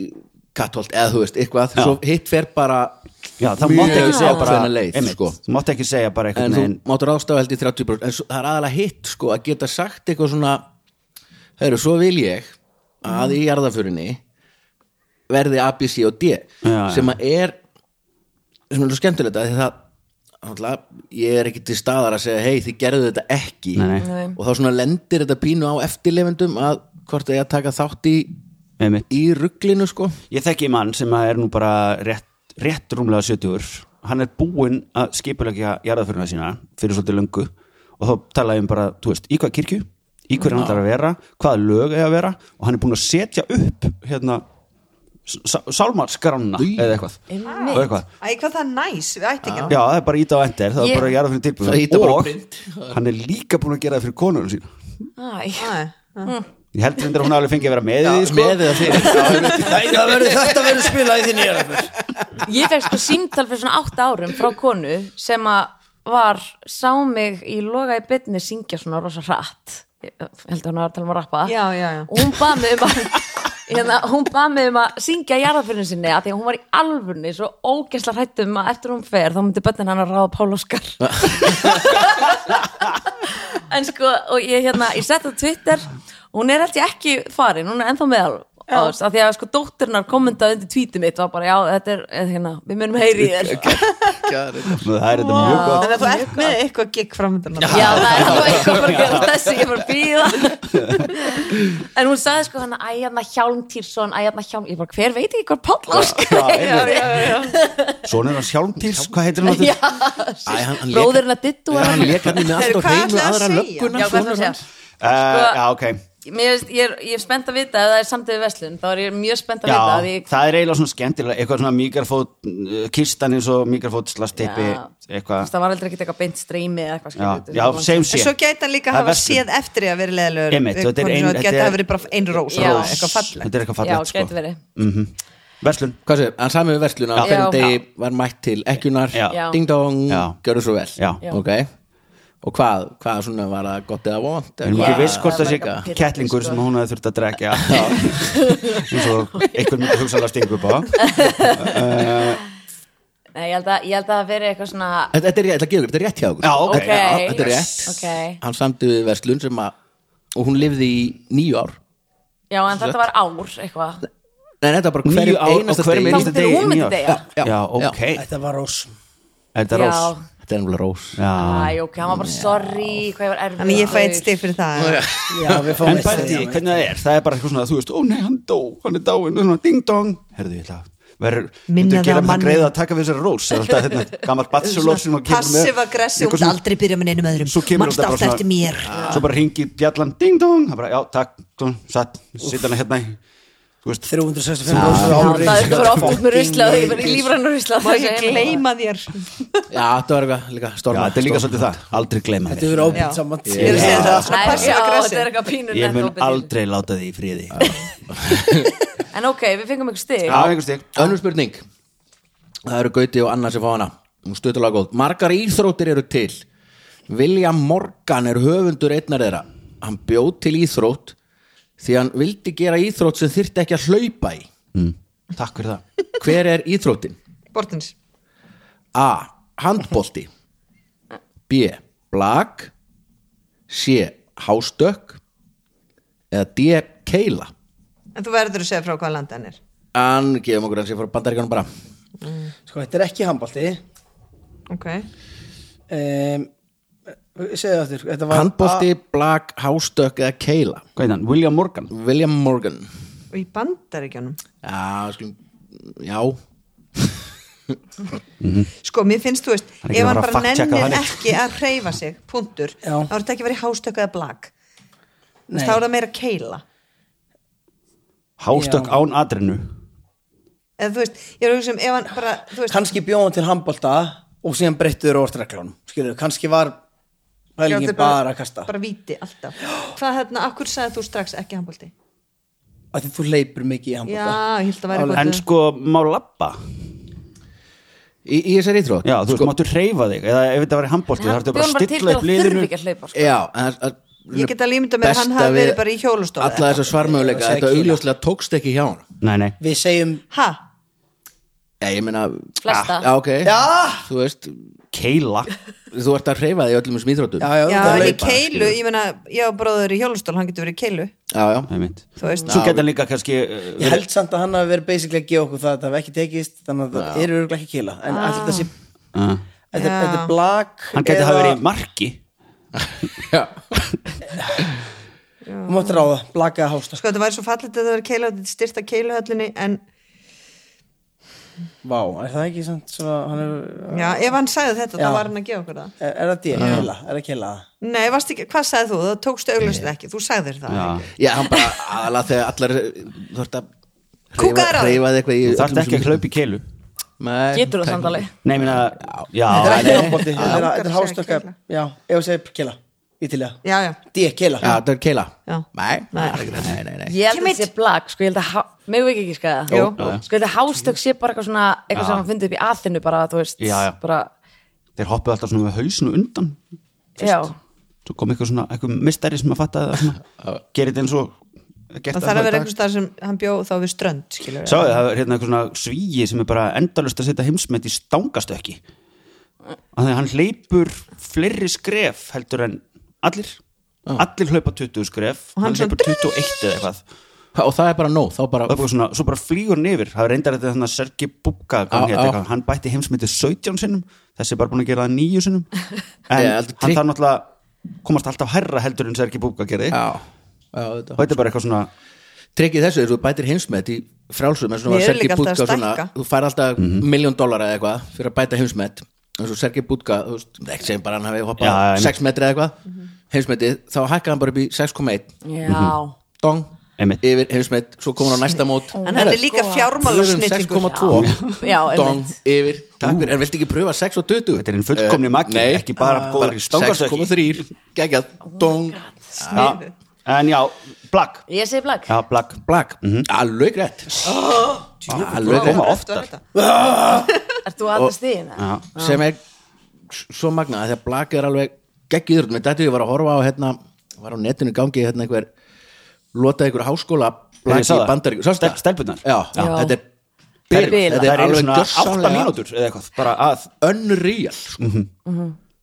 B: kattholt eða þú veist, eitthvað,
E: Já.
B: svo hitt fer bara
E: Já, það mátti ekki segja bara
B: ákveðna leið,
E: einmitt,
B: sko.
E: Þú mátti ekki segja bara
B: en
E: einhvern
B: þú
E: veginn
B: mátt ráðstafa held í 30% en svo, það er aðalega hitt sko að geta sagt eitthvað svona heyrðu, svo vil ég að í jarðaförinni verði A, B, C og D
E: já.
B: sem að er sem er alveg skemmtilegt að því það náttúrulega, ég er ekki til staðar að segja hei þið gerðu þetta ekki
E: Nei,
D: nei.
B: og þá svona lendir þetta pínu á eftirlefendum að hvort það er að taka þátt í,
E: Einmitt.
B: í rugglinu sko
E: Ég þekki mann sem að er nú bara rétt, rétt rúmlega 70 hann er búinn að skipulegja jarðaföruna sína fyrir svolítið löngu og þá tala ég um bara, þú veist, í hvað kirkju í hverju hann þarf að vera, hvaða lög er að vera og hann er búinn að setja upp hérna, sálmarskranna
B: Í.
E: eða eitthvað,
D: Einmitt.
E: og eitthvað
C: Æ, hvað það er næs við ættingina
E: Já, það er bara íta á endir, það
D: Ég-
E: er bara jarðaförun
B: Það
E: tilbúin
B: ýta bara á print.
E: og hann er líka búinn að gera það fyrir konunum sína
D: Æ,
E: Ég held reyndar að hún hafi alveg fengið að vera með í því sko.
B: með eða fyrir
F: Það verður þetta verður spilað í þinn ég
D: ég fekk sko símtal fyrir svona 8 árum frá konu sem að var, sá mig í loga í bytni syngja svona rosa hratt ég held að hún var að tala um að rappa
C: Já, já, já.
D: og hún bað mig um að hérna, hún bað mig um að syngja jarðafyrin sinni að því að hún var í alvurni svo ógesla hrættum að eftir hún fer þá myndi bötnin hann að ráða Pál Óskar en sko, og ég hérna, ég sett á Twitter hún er alltaf ekki farin, hún er ennþá meðal á þess, að því að sko dóttirnar kommentaði undir tweetið mitt var bara, já, þetta er, eh, hérna, við munum heyri þér
E: Það er þetta mjög gott
C: þannig að þú ert með eitthvað gig framöndan
D: já, það er alveg eitthvað bara að gera þessu, ég er bara að
E: [laughs]
D: býða en hún sagði sko hann æ, hérna Hjálm Týrsson, æ, hérna Hjálm ég bara, hver veit ekki hvað Páll Óskar
E: Já,
D: er?"
E: einmitt. Svona er hann sjálfntýrs, hvað heitir hann? aftur?
D: já,
B: Æ, hann- hann lék-
D: bróðurinn að dittu
B: hann
D: hann já,
B: lék hann með alltaf
C: Heyrðu, hvað
B: hreinu
C: ætlaði að
B: aðra
C: segja?
B: lögguna
D: hvað er það að segja Sko,
E: Uh, já, ok
D: Mér veist, ég, er, ég er spennt að vita ef það er samt við Veslun, þá er ég mjög spennt að
E: já,
D: vita að ég
E: Það er eiginlega svona skemmtilega eitthvað svona mikrafót, kistan eins og mikrafót slastippi,
D: Já.
E: eitthvað
D: það var aldrei ekkert eitthvað beint streymi eða eitthvað
E: Já,
D: skilur
E: já, segjum sé
C: en svo gæti hann líka
E: Það er
C: hafa
E: verslun.
C: séð eftir í að vera leðilegur
E: Einmitt, þetta er ein-
C: gæti
E: þetta er-
C: hafa verið bara ein rós
D: Já.
C: eitthvað fallegt
E: Þetta er eitthvað
D: já,
E: fallegt
D: gæti
E: sko.
D: verið
E: Verslun,
B: Hvað segir, hann sami við verslun á
E: Já.
B: hverjum
D: Já.
B: degi var mætt til ekkunar,
E: Já.
D: Já.
B: ding dong,
E: Já.
B: gjörðu svo vel
E: Já.
D: Já.
B: Ok, og hvað, hvað svona var það gott eða vond
E: við erum
D: Já,
E: ekki viss hvort
D: það
E: það sé
D: var eitthvað
E: kettlingur
D: pirrandi, sko.
E: sem hún hefði þurft að
D: [laughs]
E: drekja eins og einhver myndi hugsaðlega stingu upp á
D: Nei, ég held að, ég held að það verið eitthvað svona
B: Þetta þetta er rétt, þetta gefur, þetta er rétt hjá okkur
E: Já, ok,
D: Ok.
E: já,
B: Þetta er rétt,
D: Ok.
B: hann samdi við verslun sem að og hún lifði í nýju ár
D: já en þetta var ár eitthvað
B: Nei, þetta var bara
E: Níu ár-
B: hverjum
E: á
B: einasta
E: hverjum
B: degi
E: einasta
D: Þangað til
E: degi í
D: hún myndi
E: New York.
D: deyja.
B: Já,
E: Já,
B: já.
E: ok
F: Þetta var rós
E: Er þetta
D: já,
E: rós?
B: Þetta er ennfélag rós
E: [laughs] Já
D: Æ, ok, hann var bara sorry, hvað ég var erfið
C: Þannig ég fæ eitt stig fyrir það
F: Já, við fáum
E: En
F: eitt
E: bæði,
F: stig.
E: hvernig það er, það er bara eitthvað svona að þú veist, ó nei, hann dó, hann er dáin, og svona ding dong, herðu ég ætla að verður,
C: Minna
E: myndu
C: það
E: gera
C: á
E: með
C: manninn.
E: greið að taka við þessari rós, er alltaf
C: [laughs]
E: hérna, gammal bachelor sem að kemur með,
C: Passiv aggressiv,
E: eitthvað
C: hún
E: svona-
C: aldrei byrja með neinum öðrum
E: svo kemur
C: Manstu alltaf eftir mér
E: svo bara ringi bjallan, ding dong, hann bara, já, takk, svona, satt, sitt hann hérna, í- þú veist,
F: 365 rósur á ári
D: það er bara oft út með rusla og ég var í lífrann og rusla
C: Má ég gleyma [laughs] þér
B: Já, þetta var eitthvað líka sko.
E: já,
B: storma
E: þetta er líka
B: storma.
E: svolítið það, aldrei gleyma
F: Þetta
E: mér,
F: verður
C: Já.
F: ábyrgt saman
C: Ég er að segja það, svona
D: Nei,
C: passiv
D: já, þetta er
C: aggressiv
D: eitthvað pínur
E: ég mun
D: nett opið.
E: aldrei láta því í friði,
D: En ok, við fengum ykkur stig
E: já, einhvers stík,
B: Önnur spurning Það eru Gauti og Anna sem fá hana Hún stöðtulega góð Margar íþróttir eru til William Morgan er höfundur einnar þeirra Hann bjóð til íþrótt Því hann vildi gera íþrótt sem þyrfti ekki að hlaupa í
E: takk fyrir það,
B: Hver er íþróttin?
C: Bortins
B: A. Handbolti B. Blag C. Hástökk eða D. Keila
C: En þú verður að segja frá hvað landa hann er
B: Hann gefum okkur að sé frá bandaríkanum bara
F: Sko, þetta er ekki handbalti
C: Ok
F: um, Segðu aftur þetta var
B: Handbolti, blag, hástökk eða keila
E: hvað er hann, William Morgan,
B: William Morgan
C: Og í bandaríkjunum
B: Já, skulum, já
C: Sko, mér finnst, þú veist,
E: Það er ekki
C: ef
E: að
C: hann
E: fara að
C: bara
E: fact-checka
C: nennir
E: þannig.
C: ekki að hreyfa sig Puntur,
F: Já.
C: þá er þetta ekki að vera í hástökku eða blag Þú veist,
F: Nei.
C: Þá er það meira keila
E: hástökk
F: Já.
E: án adrinu,
C: Eða þú veist, ég er að hugsa um ef hann bara, þú veist
F: kannski bjóðan til handbalta og síðan breyttuður orðreglunum skilur, kannski var
C: Já, þetta
F: pælingin
C: er
F: bara að kasta
C: Bara víti, alltaf Hvað hérna, akkur sagði þú strax ekki handbólti?
F: að því þú hleypur mikið í
C: Já,
F: handbalta
C: ég held að væri
E: en
C: eitthvað
E: sko, má lappa,
B: Í, í þessari Sko, íþrótt
E: Já, þú veist, máttu reyfa þig eða ef þetta var í handbólti,
D: Hann
E: það ertu bara
D: bjó
E: að
D: til
E: stilla
D: til
E: upp
D: að
E: liðinu
D: þurfi ekki að hlaupa sko.
B: Já, en það- það-
C: Ég get alveg ímyndað mér að hann
B: besta
C: hafi verið
B: við
C: bara í hjólastofu eða
B: Alla þessar svarmöguleika,
F: Segja
B: þetta
F: keila.
B: augljóslega tókst ekki hjá hann
E: Nei, nei,
F: við segjum
C: Ha?
B: Já, ég meina
D: Flesta.
B: Ah, Já, ok
F: Já.
B: Þú veist,
E: keila
B: þú ert að hreyfa þig í öllum þessum íþróttum
F: já, já,
C: Já,
F: já,
C: en í
F: leik,
C: keilu, ég meina, já, bróður í hjólastól, hann getur verið í keilu
B: já, já.
E: Nei, mitt.
C: Þú veist,
E: Svo geta hann líka kannski uh,
F: ég held samt að hann hafi verið basically að gefa okkur það að það hafi ekki tekist þannig að það eru örugglega ekki kila en alltaf þessi
E: uh,
F: Þetta
C: Já.
F: þetta er blag
E: Hann geti
F: eða-
E: hafa verið í marki
F: Þú mátt ráða, blag eða hásta
C: sko, þetta væri svo fallit að það verið keilu, þetta styrta keiluhöllinni en
F: Vá, er það ekki samt svo hann er,
C: já, ef hann sagði þetta,
F: Já.
C: þá var hann að gefa okkur það
F: er, er það dýr, kila, er það kila
C: Nei, varst ekki, hvað sagði þú? Það tókstu auglustið ekki, þú sagðir það
E: Já.
C: ekki.
B: Já, hann bara aðla þegar allar þú ert að
C: Kúka þér á þig.
B: reyfa þig eitthvað í
E: Þú þarft ekki að hlaupa í keilu
D: Getur þú samt alveg
E: Nei, minna, já,
F: Þetta er ekki
E: nei.
F: handbólti, þetta er- þetta er
C: Langar að segja
F: hástökka
C: keila.
F: Já, ef þú segir kila, í til það
C: Já, já,
F: Dýr, kila
B: Já, það er keila
C: Já.
B: Nei,
C: Nei.
B: nei, nei, nei.
D: Ég held að
C: Kemet.
D: þetta sé blag, sko, ég held að há- Megum við ekki skæða
C: Jú.
D: Sko, ég held að hástökk sé bara eitthvað svona Eitthvað sem hann fundið upp í aðinu bara, þú veist
E: Já, já.
D: Bara,
E: Þeir hoppuðu alltaf svona með hausinu undan
D: já
E: Svo kom eitthvað svona, eitthvað mistæri sem að fatta það svona Gerið þetta eins og gert
C: það þarf að
E: svona í
C: vera
E: dag.
C: einhvers staðar sem hann bjó þá við strönd, skilur
E: Sáðu, það er hérna eitthvað svona svíi sem er bara endalust að setja heimsmet í stangastökki Þannig að hann hleypur fleiri skref heldur en allir Allir hlaupa 20 skref
C: Og hann
E: Hann hleypur 21 eða eitthvað
B: Og það er bara nóg, þá bara
E: og það er bara svona, svo bara flýgur hann yfir það er reyndar þetta þannig að Sergi Bubka hann,
B: Já,
E: hét,
B: já.
E: eitthvað, hann bætti heimsmyndi 17 sinnum þessi er bara búin að gera það nýju
B: [laughs]
E: sinnum en
B: Ég
E: hann
B: heldur
E: þarf
B: trygg-
E: náttúrulega komast alltaf hærra heldur en Sergi Bubka gerði
B: Já,
E: og
B: já, þetta
E: þetta er bara eitthvað svona
B: Tryggið þessu er þú bætir heimsmet í frálsum eins og
C: Ég er
B: Sergi
C: líka alltaf að
B: Bútka svona,
C: stækka.
B: þú fær alltaf
E: Mhm.
B: mm miljón dólar eða eitthvað fyrir að bæta heimsmet eins og Sergi Bútka, þú veist, ekki segjum bara hann hafi
E: Já,
B: hoppað
E: já,
B: 6 metri eða eitthvað
C: Mhm.
B: heimsmetið, þá hækkar hann bara upp í 6,1
E: Mhm.
D: Já,
B: dong,
E: Einmitt.
B: yfir heimsmet svo komur hann á næsta mót sko,
C: En hann er líka
B: um
C: fjármálasnillingur. [laughs]
B: 6,2
D: Já, einmitt.
B: dong yfir, takk fyrir, en viltu ekki pröfa 6 og 20
E: þetta er einn fullkomni magi,
B: nei. Ah.
E: ekki bara góður í stangarstökki
B: 6,3 geggjað,
C: Oh
B: dong,
E: ja. en já, blag
D: ég segi blag
E: já, blag,
B: blag
E: Mhm.
B: alveg
C: [gasps]
B: rétt alveg
E: Koma
B: rétt
E: oftar.
D: Ert þú aðra stíðina?
E: Já.
B: sem er s- svo magnað þegar blag er alveg geggjur með þetta ég var að horfa á hérna var á netinu í gangi hérna einhver lotaði einhver háskóla
E: Ég
B: blag
E: sá
B: í
E: það.
B: bandaríku sástu það?
E: Stel- stelpurnar.
B: já,
D: Já.
B: þetta er
E: Þær eru-
D: Bilað.
B: þetta
E: þær
B: er
E: eru
B: alveg
E: svona 8
B: gjörsamlega
E: mínútur eða eitthvað, bara að
B: unreal sko.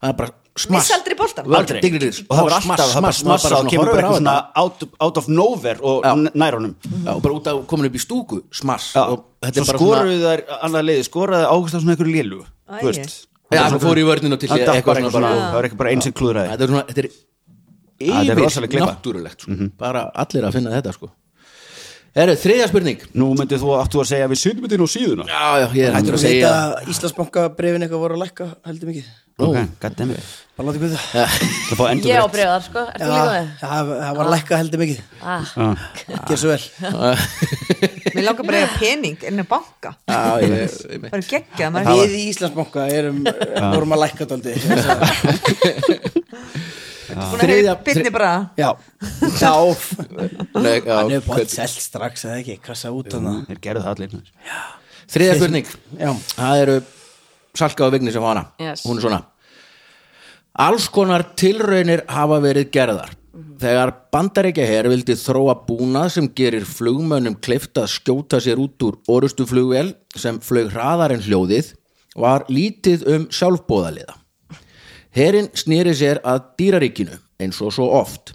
B: það er bara smass
C: Missa aldrei boltan.
B: Aldrei. Digri líðs.
E: og það var alltaf, það bara
B: maður
E: smassa og
B: svona
E: kemur
B: horfir
E: bara
B: á
E: eitthvað svona
B: þetta.
E: out, out of nowhere og
B: Já.
E: nær honum
B: Já, og bara út af komin upp í stúku, smass
E: Já.
B: og þetta
E: svo
B: er bara
E: skoruðu þær annað leiði, skoraði águst af svona einhverju lélu
C: Æi.
E: þú veist.
B: Já, það fór í vörnina til
E: það
B: hliðar,
E: datt
B: eitthvað
E: bara
B: svona
E: eitthvað svona,
B: bara-
E: það var ekki bara einn sem klúðraði
B: þetta er svona, þetta er
E: þetta er rosaleg
B: yfir
E: klippa.
B: náttúrulegt sko. bara allir að finna þetta sko Herru, þriðja spurning
E: nú myndið þú aftur að segja við sendum þetta inn á síðuna
B: Já, já, ég er hættur að
F: Hættur að vita
B: segja
F: að Íslandsbanka brefin eitthvað voru að lækka heldur mikið
E: ok, goddammit
F: Bara láti guða
E: það fá endur
D: Ég á breyðar, sko, ertu líka
F: Já,
D: með?
F: það það var að lækka heldur mikið
D: Ah,
F: Gjör svo vel
C: Mér langar bara að eiga pening inn á banka
B: Já, ég- ég- ég-
C: Það er geggjað maður
F: Við í Íslandsbanka erum vorum að lækka daldi
C: er búin að
B: Þriðja-
C: hefja byrni bara
F: Já Já
B: Nei, já,
F: Hann
B: hvern-
F: er bótt selt strax eða ekki Kassa út hann
E: þeir gerðu það allir
B: Þriðja spurning
F: Já
B: Það eru Salka og Vigni sem fá hana
D: Yes.
B: Hún er svona Alls konar tilraunir hafa verið gerðar Þegar bandaríkja her vildi þróa búnað sem gerir flugmönnum kleift að skjóta sér út úr orustuflugvél sem flög hraðar en hljóðið var lítið um sjálfbóðaliða Herin snýri sér að dýraríkinu eins og svo oft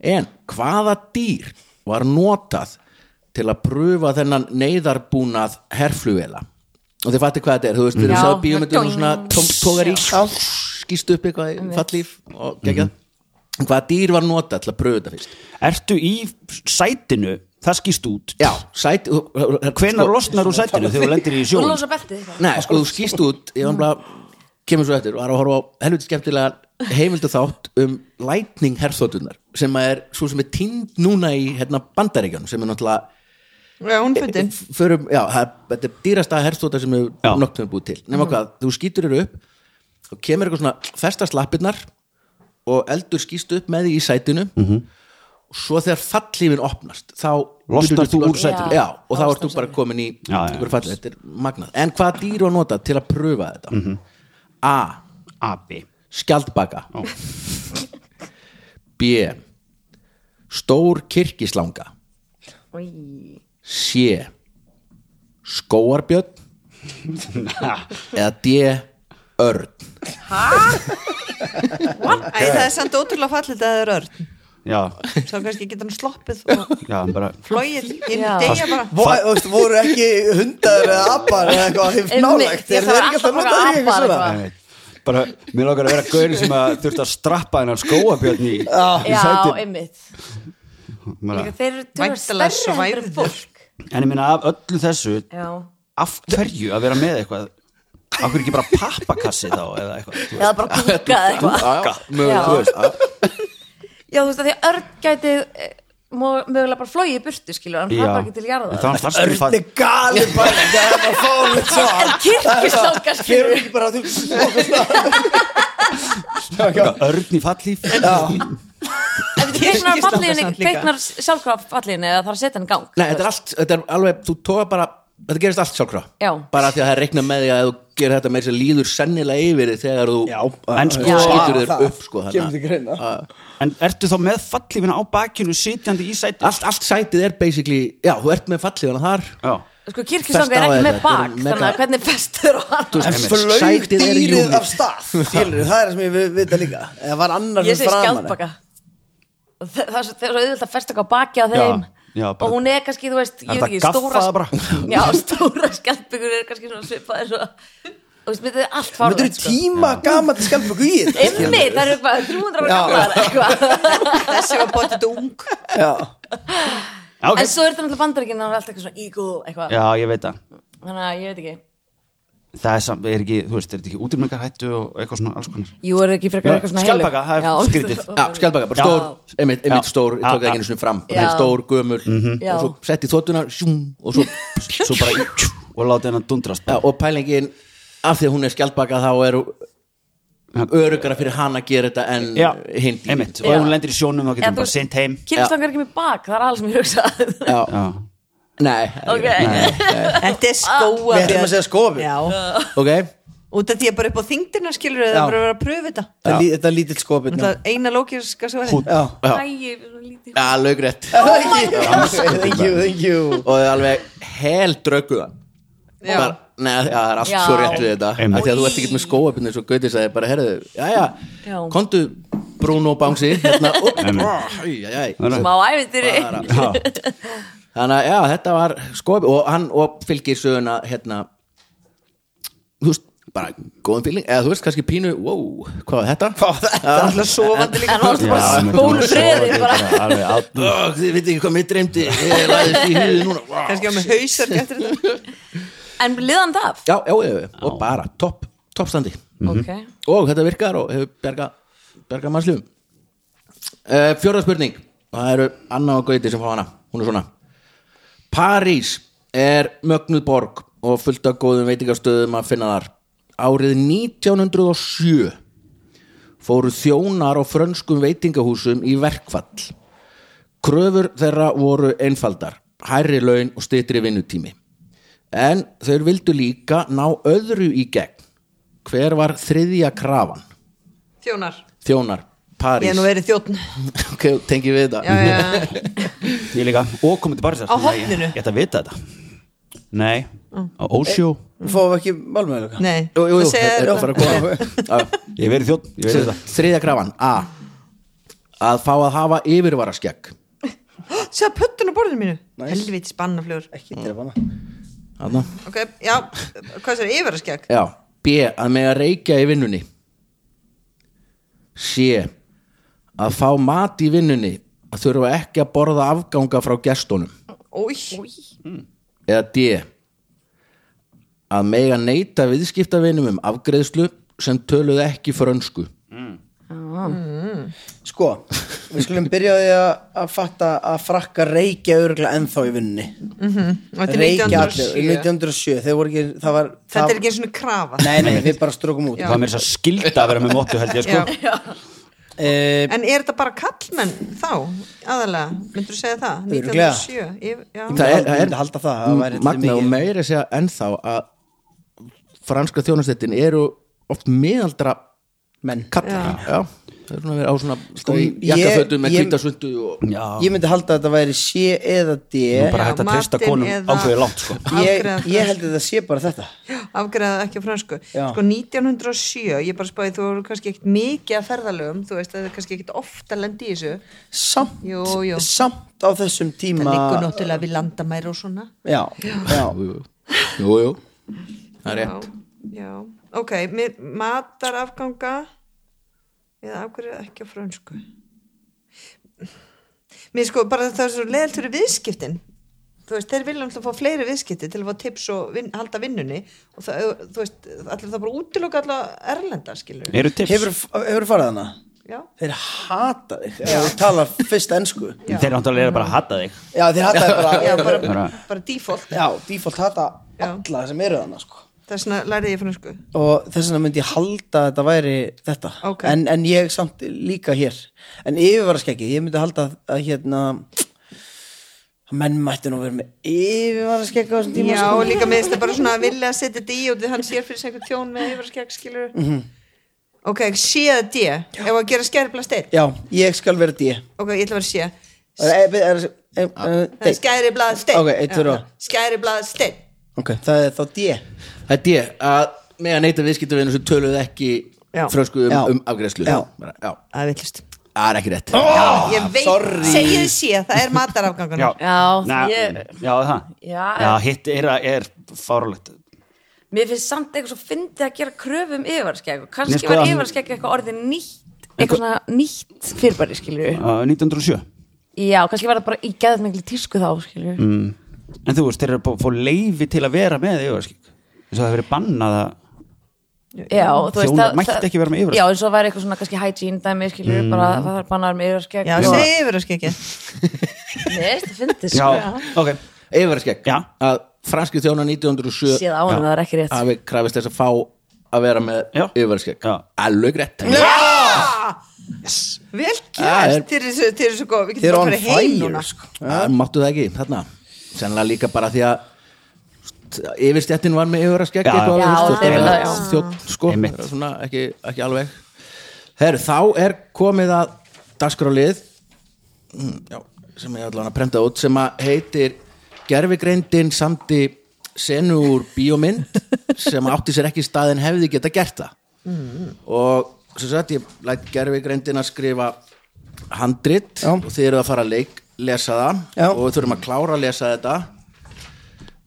B: En hvaða dýr var notað til að pröfa þennan neyðarbúnað herflugela? Og þið fattir hvað þetta er, þú veist, við erum
D: Já,
B: sáð bíómyndunum
D: dong.
B: svona tógar í, skýst upp eitthvað í fallíf og geggjað. Hvaða dýr var notað til að pröfa þetta fyrst?
E: ertu í sætinu, það skýst út
B: Já, sæt...
E: hvenar losnar úr sætinu þegar þú lendir í
D: Þú
E: sjóun
D: losa beltið eitthvað.
B: Nei, sko, þú skýst út ég var bara, kemur svo eftir og er að horfa á helviti skemmtilega heimildu þátt um lightning herþótunar sem að er svo sem er tínd núna í hérna, bandaríkjunum sem er náttúrulega
C: Já, hún er fundin
B: förum, já, það er- þetta er dýrasta herþóta sem við
E: Já.
B: noktum við búið til nema hvað, þú skýtur þér upp og kemur eitthvað svona festast lappirnar og eldur skýst upp með því í sætinu og svo þegar fallífin opnast þá
E: Mhm. Losnar
B: getur
E: þú úr sætinu.
B: já, og þá ertu bara komin í
E: Já, já.
B: einhver fall, þetta er magnað en hvað dýr var nota til að pröfa þetta
E: Mhm.
B: A.
E: abi
B: Skjaldbaka B. Stór kirkislanga
D: Í.
B: C skóarbjörn eða D örn
C: Æ, það er samt ótrúlega fallið að það er örn
E: já,
C: Svo kannski geta hann sloppið og
E: já, bara
C: flóið inn í
D: Já.
C: degja bara
F: Vo- Þú veist, voru ekki hundar eða apar eða eitthvað hef
D: Einmitt,
F: nálægt
D: ég
F: Eru þeir
D: þarf
F: ekki alltaf að
D: alltaf
F: nota
D: að
F: þig eitthvað
D: apar
F: svona?
D: eitthvað.
E: Nei, bara, mér langar að vera gauri sem að þurft að strappa hennar skóabjörn í, í
D: Já,
E: sætin
D: einmitt
E: Bara-
D: Líka Þeir eru tölvöld
C: Væntanlega
D: stærri heldur en
C: survivor.
D: fólk
E: en ég minna af öllu þessu
D: Já
E: af hverju að vera með eitthvað af hverju ekki bara pappakassi þá eða eitthvað þú
D: Eða bara kúka eða eitthvað
B: mögulega,
D: Já.
B: þú veist, að-
D: Já, þú veist að því að örn gæti eh, mó- mögulega bara flóið í burtu, skilur Hann
E: Já.
D: hrappar ekki til
E: En
D: jarða
E: það var fast
F: Þetta er gali bara Það er bara fólk svo
D: En kirkislangar,
F: Þeir
D: skilur
F: eru ekki bara
E: það örn í fallíf
D: Kveiknar
C: Kirkislangar
D: fallíðinni,
C: samt líka.
D: kveiknar sjálfkvæða fallíðinni Eða þarf að setja hann í gang
B: Nei, þetta er allt, þetta er alveg, þú tóða bara þetta gerist allt sjálfkrá
D: Já.
B: bara af því að það er reiknað með því að þú gerir þetta með þess að líður sennilega yfir þig þegar þú
E: en sko
D: Já.
B: skýtur
F: Það-
B: þér upp sko, þannig
F: kemur
B: að-
F: til greina.
B: að-
E: en ertu þá með fallífina á bakinu sitjandi í sætin
B: allt, allt sætið er basically já, þú ert með fallíðana þar
E: já
D: Sko, kirkislangar
B: Festa á
D: er ekki með
B: þetta,
D: bak
B: þetta er
D: Þannig að
B: mega-
D: hvernig festur og hann
F: En
B: Einmitt.
F: flög
B: Sætið er í júní.
F: dýrið af stað Skilur, það er það sem ég vi- vita líka Það var annar
D: Ég
F: sem
D: segi
F: framan
D: skjaldbaka Og þa- Það er svo það er svo auðvitað að festa eitthvað á baki á þeim
E: Já, já, bara-
D: Og hún er kannski, þú veist, ég
E: Er
D: veit
E: það
D: ekki
E: gaffað
D: stóra
E: bara?
D: [laughs] Já, stóra skjaldbyggur er kannski svona svipaðir svo Og veist, þetta er allt
F: Þetta eru
D: fárlegt sko.
F: tíma gamalt skjaldböku í þetta
D: Einni, það eru eitthvað 300 ára
F: Já.
D: gamlar eitthvað
C: Þessi var bóttið ung
F: Já.
E: Já, [laughs] ok.
D: En sko- svo er þetta náttúrulega bandaríkinn Það er alltaf eitthvað svona eagle eitthvað
E: já ég veit það
D: Þannig að ég veit ekki
E: það er, sam, er ekki þú veist er þetta ekki útirmengarhættu og eitthvað svona alls konar
D: Jú, er ekki frekar
E: Já,
D: eitthvað svona
E: skjaldbaka, það er
D: Já. [laughs]
E: skrítið.
B: já, skjaldbaka, bara
E: Já.
B: stór, einmitt, einmitt
E: Já.
B: stór, ég tók
E: Já.
B: það ekki einu sinni fram
D: Já.
B: bara stór, gömul
D: Já.
B: og svo sett í þóttunar og svo, svo bara
E: og láta hennar dundrast
B: Já, og pælingin af því að hún er skjaldbaka þá er örugara fyrir hann að gera þetta en
E: já
B: hinn dýrin.
E: einmitt og ef hún lendir í sjónum þá
D: Eða
E: getur hún
D: þú
E: bara
D: veist,
E: sent heim
D: Kyrkistangar er ekki með bak, það er alls mér
E: [laughs]
D: hugsað
B: Já,
E: já
B: nei það
D: Ok,
B: er ekki.
C: Þetta er skóa
F: Við ætlum að segja skóabjörn.
C: Já,
B: Ok,
C: út af því að bara upp á þingdina skilur þau, það
F: Já.
C: er bara að vera að pröfu þetta
F: Það er lí- Þetta er lítill skóabjörn
C: Það er eina lókiska svarið
F: Já
B: Já.
D: ægir, lítið
B: já, laugrætt
F: Thank you, thank you
B: og það er alveg hel drauguðan
C: Já.
B: bara, Nei, já, það er allt
D: Já.
B: svo rétt við þetta
E: Einmitt.
B: af Því að þú ert ekki með skóapinn eins og Gauti sagði bara, herðu, já, já,
D: Já.
B: kondu Bruno Bangsi hérna, og,
E: Einmitt.
B: og, æ, æ, æ.
D: smá ævintýri
E: Já.
B: [laughs] Þannig að, já, þetta var skóapinn og hann og fylgir söguna hérna, þú veist, bara góðan fíling, eða þú veist, kannski pínu wow, hvað var þetta? Hvað var þetta?
C: alltaf sofandi líka
D: en hann var bara
E: Já,
D: spólu
E: sofandi
D: freðið bara
E: bara alveg að-
B: Ugh, Þið veit ekki hvað mér dreymdi Ég lagðist í hýðu núna Vá.
C: kannski á með hausar eftir þetta
D: en liðan af
B: Já, já, já, já, og bara topp toppstandi
E: Mhm.
D: ok,
B: og þetta virkar og hefur bjarga bjarga mannsljöfum uh, Fjórða spurning og það eru Anna og Gauti sem fá hana hún er svona París er mögnuð borg og fullt af góðum veitingastöðum að finna þar Árið 1907 fóru þjónar á frönskum veitingahúsum í verkfall Kröfur þeirra voru einfaldar, hærri laun og stytri vinnutími. En þeir vildu líka ná öðru í gegn. Hver var þriðja krafan?
C: þjónar,
B: Þjónar,
C: ég
B: París.
C: hef nú verið þjóttn
B: [laughs] ok, tengi við þetta.
C: já, já, já.
E: Ég líka, og komið til Parísar
C: Á horninu?
E: Nei, Ég ætla að vita þetta Nei,
D: Mm.
E: á Ósjó
F: Fáum við ekki málmöðuleika?
C: nei,
B: Jú, jú, jú,
C: Það segir-
B: þetta er bara að koma. Já,
E: Ég hef verið þjótt, ég hef verið
B: já. Þriðja krafan, A. Að fá að hafa yfirvaraskegg.
C: Sjá pöttun á borðinu mínu Helviti spannafljór
F: Ekki til að fana
B: Þarna.
C: Ok, já, hvað sér yfiraskegg?
B: Já, B. Að mega reykja í vinnunni. C. Að fá mat í vinnunni að þurfa ekki að borða afganga frá gestunum.
C: Ói,
B: eða D að mega neyta viðskiptavinum um afgreðslu sem töluðu ekki frönsku
F: Sko, við skulum byrja á því að, að fatta að frakka reykja örgla ennþá í vinnunni
C: þetta er
F: Reykja allir,
C: 1907
F: 1907 Þeir voru ekki, það var
C: Þetta
F: það,
C: er ekki eins og krafa
F: Nei, nei, við bara strókum út
C: Já.
E: það Það er mér þess að skilda að vera með móttu held ég sko
C: Já.
F: Eh,
C: En er þetta bara kallmenn þá, aðalega, myndur þú segja það?
F: Örugglega.
C: 1907, yf- já.
F: Það er- ég myndi halda það, það væri til
B: magna og
F: mikið.
B: meira segja ennþá að franska þjónastettin eru oft meðaldra
F: Menn
B: kallar já. það er svona að vera á svona sko,
F: ég-
B: jakkafötu með
F: ég-
B: kvítasundu og
E: Já,
F: Ég myndi halda að þetta væri C eða D
E: nú bara
C: Já,
E: hægt að treysta
C: matinn
E: konum
C: eða-
E: ákveðið langt sko
F: [laughs] ég,
C: afgreiða
F: ég held að þetta sé bara þetta
C: afgreðað ekki á frönsku
F: Já.
C: sko 1907, ég bara spáði þú eru kannski ekkit mikið að ferðalögum þú veist, það er kannski ekkit ofta lendi í þessu
F: Samt,
C: Jú, jú.
F: samt á þessum
C: það
F: tíma
C: liggur náttúrulega við landamæri og svona
F: Já, já
B: jú, jú, jú. það er rétt
C: já, já, ok, mér matar afganga eða afgreðað ekki á frönsku mér sko bara það er svo leðalt fyrir viðskiptin þú veist, þeir vilja alltaf fá fleiri viðskipti til að fá tips og vin, halda vinnunni og það, þú veist, allir það bara útiloka allar erlenda, skilur
E: Eru tips?
F: Hefur, hefur farið hana?
C: já,
F: Þeir hata þig Þegar þú talar fyrst ensku
E: Þeir náttúrulega eru bara að hatta þig
F: Já, þeir hata þig bara
C: já bara,
E: Bara-
C: bara default
F: Já, default hata
C: Já.
F: alla sem eru þarna sko.
C: þess vegna lærði ég fransku
F: og þess vegna myndi ég halda að þetta væri þetta,
C: Ok.
F: en, en ég samt líka hér, en yfirvaraskeggið ég myndi halda að, að hérna að menn mættu nú vera með yfirvaraskegg á þessum tíma
C: já,
F: sko.
C: og líka með þetta bara svona að vilja að setja þetta í og því hann sér fyrir sig einhvern tjón með yfirskegg skilur ok, sé að D ef að gera skæriblast einn
F: já, ég skal vera D
C: ok, ég ætla að vera sé
F: er, er, er,
B: Ah.
F: er, er,
C: skæriblast einn
F: Ok, eitt, tveir og-
C: skæriblast einn
F: ok, það er þá D
B: það er D að mega neyta viðskiptavinu sem töluðu ekki
C: Já.
B: frönsku um,
F: Já.
B: um afgreðslu
F: Já.
B: Bara, já.
C: það er villust
B: það er ekki rétt
C: ég veit,
F: sorry.
C: segið sé, það er matarafgangan
D: Já,
E: Na,
D: ég-
E: já það
D: Já.
E: já hitt er, er fáralegt
D: mér finnst samt eitthvað svo fyndið að gera kröfum yfarskegg og
E: Nei,
D: kannski
E: sko,
D: var
E: hann-
D: yfarskegg eitthvað orðið nýtt eitthvað svona nýtt fyrirbæri skilju
E: uh, 1907
D: já, kannski var það bara í geðað miklu tísku þá skilju
E: Mm. En þú veist, þeir eru bara að fá leifi til að vera með yfirskik Þess að það hefur verið bannað að
D: já, þú veist
E: Þjónar
D: það-
E: mættu
D: það-
E: ekki vera með Mm. yfirskegg.
D: já, eins og það væri eitthvað svona kannski hygiene dæmi skilju bara það þarf bannaður með yfarskegg
C: já, segið yfirskeggi
D: það fyndið
E: Já,
D: sko
E: ok
B: Yfirskegg
E: Já.
B: að franski þjóna 1907
D: séð á hann að það er ekki rétt
B: hafi krafist þess að fá að vera með
E: Já.
B: yfirskegg
E: Já.
B: alveg rétt
C: vel
B: Það er-
C: gert, þeir eru svo- þeir eru svo góð við
F: Þeir eru
C: getum bara
F: on
C: farið heim
F: fire,
C: núna
F: sko.
B: Það máttu það ekki þarna sennilega líka bara því að yfirstjættin var með yfirskegg
E: Já.
B: eitthvað þú
D: Já,
B: veist,
D: það er
B: þjónn-
D: það, já.
B: þjónn, sko,
E: Einmitt.
B: svona ekki, ekki alveg Her, þá er komið að dagskrálið mm, já, sem ég allan að prenta út sem að heitir Gervigreindin samti senu úr bíómynd sem átti sér ekki stað en hefði geta gert það og sem sagt ég læt gerfi greindin að skrifa handrit
F: Já.
B: og þið eru að fara að leik lesa það
F: Já.
B: og við þurfum að klára að lesa þetta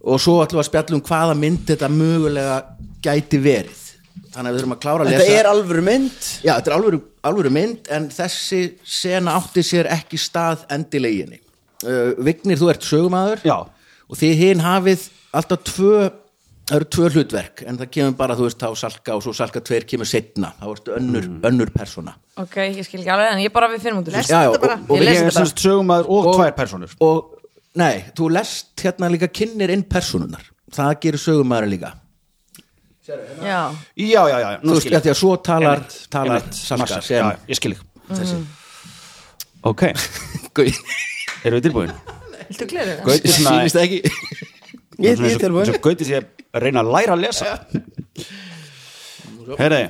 B: og svo ætlum við að spjalla um hvaða mynd þetta mögulega gæti verið þannig að við þurfum að klára að lesa
F: Þetta er alvöru mynd
B: Já, þetta er alvöru, alvöru mynd en þessi sena átti sér ekki stað endileginni. Uh, Vignir, þú ert sögumæður
E: Já.
B: og þið hinn hafið alltaf tvö, það eru tvö hlutverk en það kemur bara, þú veist, þá salka og svo salka tveir kemur setna, þá ertu önnur,
E: Mm.
B: önnur persóna.
D: ok, ég skil ekki alveg en ég bara við finnum út úr
C: Lestu
D: þessu.
B: Já, já,
C: þetta bara.
B: og- og
D: Ég
E: Ég
D: les
E: er
D: þetta
E: sem
D: bara
E: sagt sögumæður og tvær personur
B: Og, nei, þú lest hérna líka kynir inn persónunar, það gerir sögumæður líka.
D: já,
E: Já, já, já, já,
B: Þú
E: nú
B: veist,
E: skil ég
B: því að svo talar,
E: Einmitt,
B: talar
E: einmitt,
B: salka
E: Marsa,
B: sem
E: já, Ég skil ekki Ok,
B: Gauð,
E: eru við tilbúin?
C: Viltu gleru það?
E: Gauti svona-
B: sýnist það ekki
F: Ég ég er tilbúin
E: Svo gauti sé að reyna að læra að lesa Herri,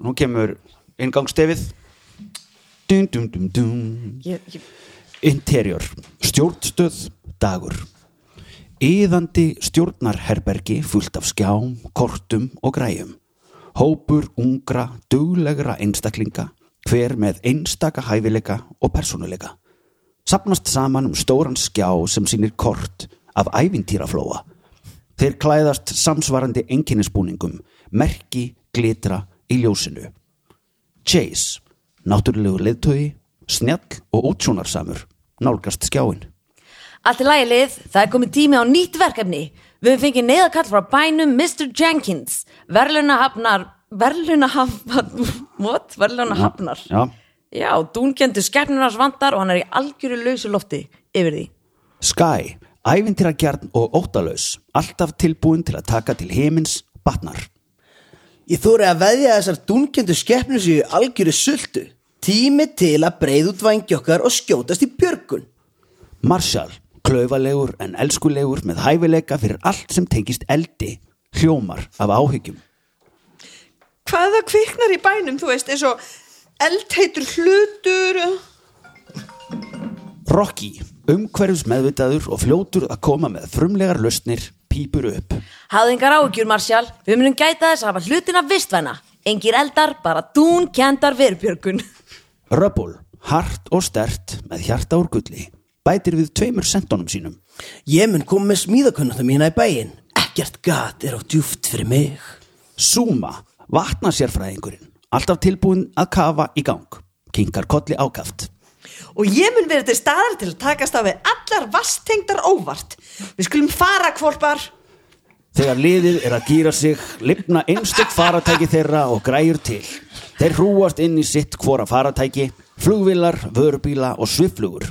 E: nú kemur inngangstefið Dum, dum, dum, dum
D: ég, ég,
E: Interior, stjórnstöð, dagur Íðandi stjórnarherbergi fullt af skjám, kortum og græjum Hópur ungra, duglegra einstaklinga Hver með einstaka hæfileika og persónuleika Sapnast saman um stóran skjá sem sýnir kort af ævintýraflóa Þeir klæðast samsvarandi einkennisbúningum Merki, glitra í ljósinu Chase, náttúrulegu leðtögi, snjall og útsjónarsamur, nálgast skjáin.
D: Allt í lagi lið, það er komið tími á nýtt verkefni. Við höfum fengið neyðakall frá bænum Mr. Jenkins. Verluna hafnar, verluna hafnar, [laughs] what? Verluna hafnar.
E: Já.
D: Já, dúngjöndu skefnunars vandar og hann er í algjöru lausu lofti yfir því.
E: Sky, ævintýragjarn og óttalaus, alltaf tilbúin til að taka til heimins batnar.
F: Ég þóri að veðja að þessar dungjendu skeppnur séu algjöru sultu Tími til að breið út vangi okkar og skjótast í björgun
E: Marshall, klaufalegur en elskulegur með hæfileika fyrir allt sem tengist eldi, hljómar af áhyggjum.
C: Hvað það kviknar í bænum, þú veist, eins og eldheitur hlutur
E: Rocky, umhverfis meðvitaður og fljótur að koma með frumlegar lausnir, pípur upp.
D: Hafðu engar áhugjur, Marshall. Við munum gæta þess að hafa hlutina vistvæna. Engir eldar, bara dúngjendar verubjörgun.
E: Rubble, hart og stert með hjarta úr gulli, bætir við tveimur sentónum sínum.
F: Ég mun koma með smíðakunnata mína í bæinn Ekkert gat er á djúft fyrir mig
E: Súma, vatna sérfræðingurinn Alltaf tilbúin að kafa í gang Kinkar kolli ákaft
C: og ég mun verið til staðar til að takast á við allar vastengdar óvart. Við skulum fara kvolpar.
E: Þegar liðið er að gýra sig Lipna einstök faratæki þeirra og græjur til Þeir hrúast inn í sitt hvora faratæki Flugvilar, vörubíla og sviflugur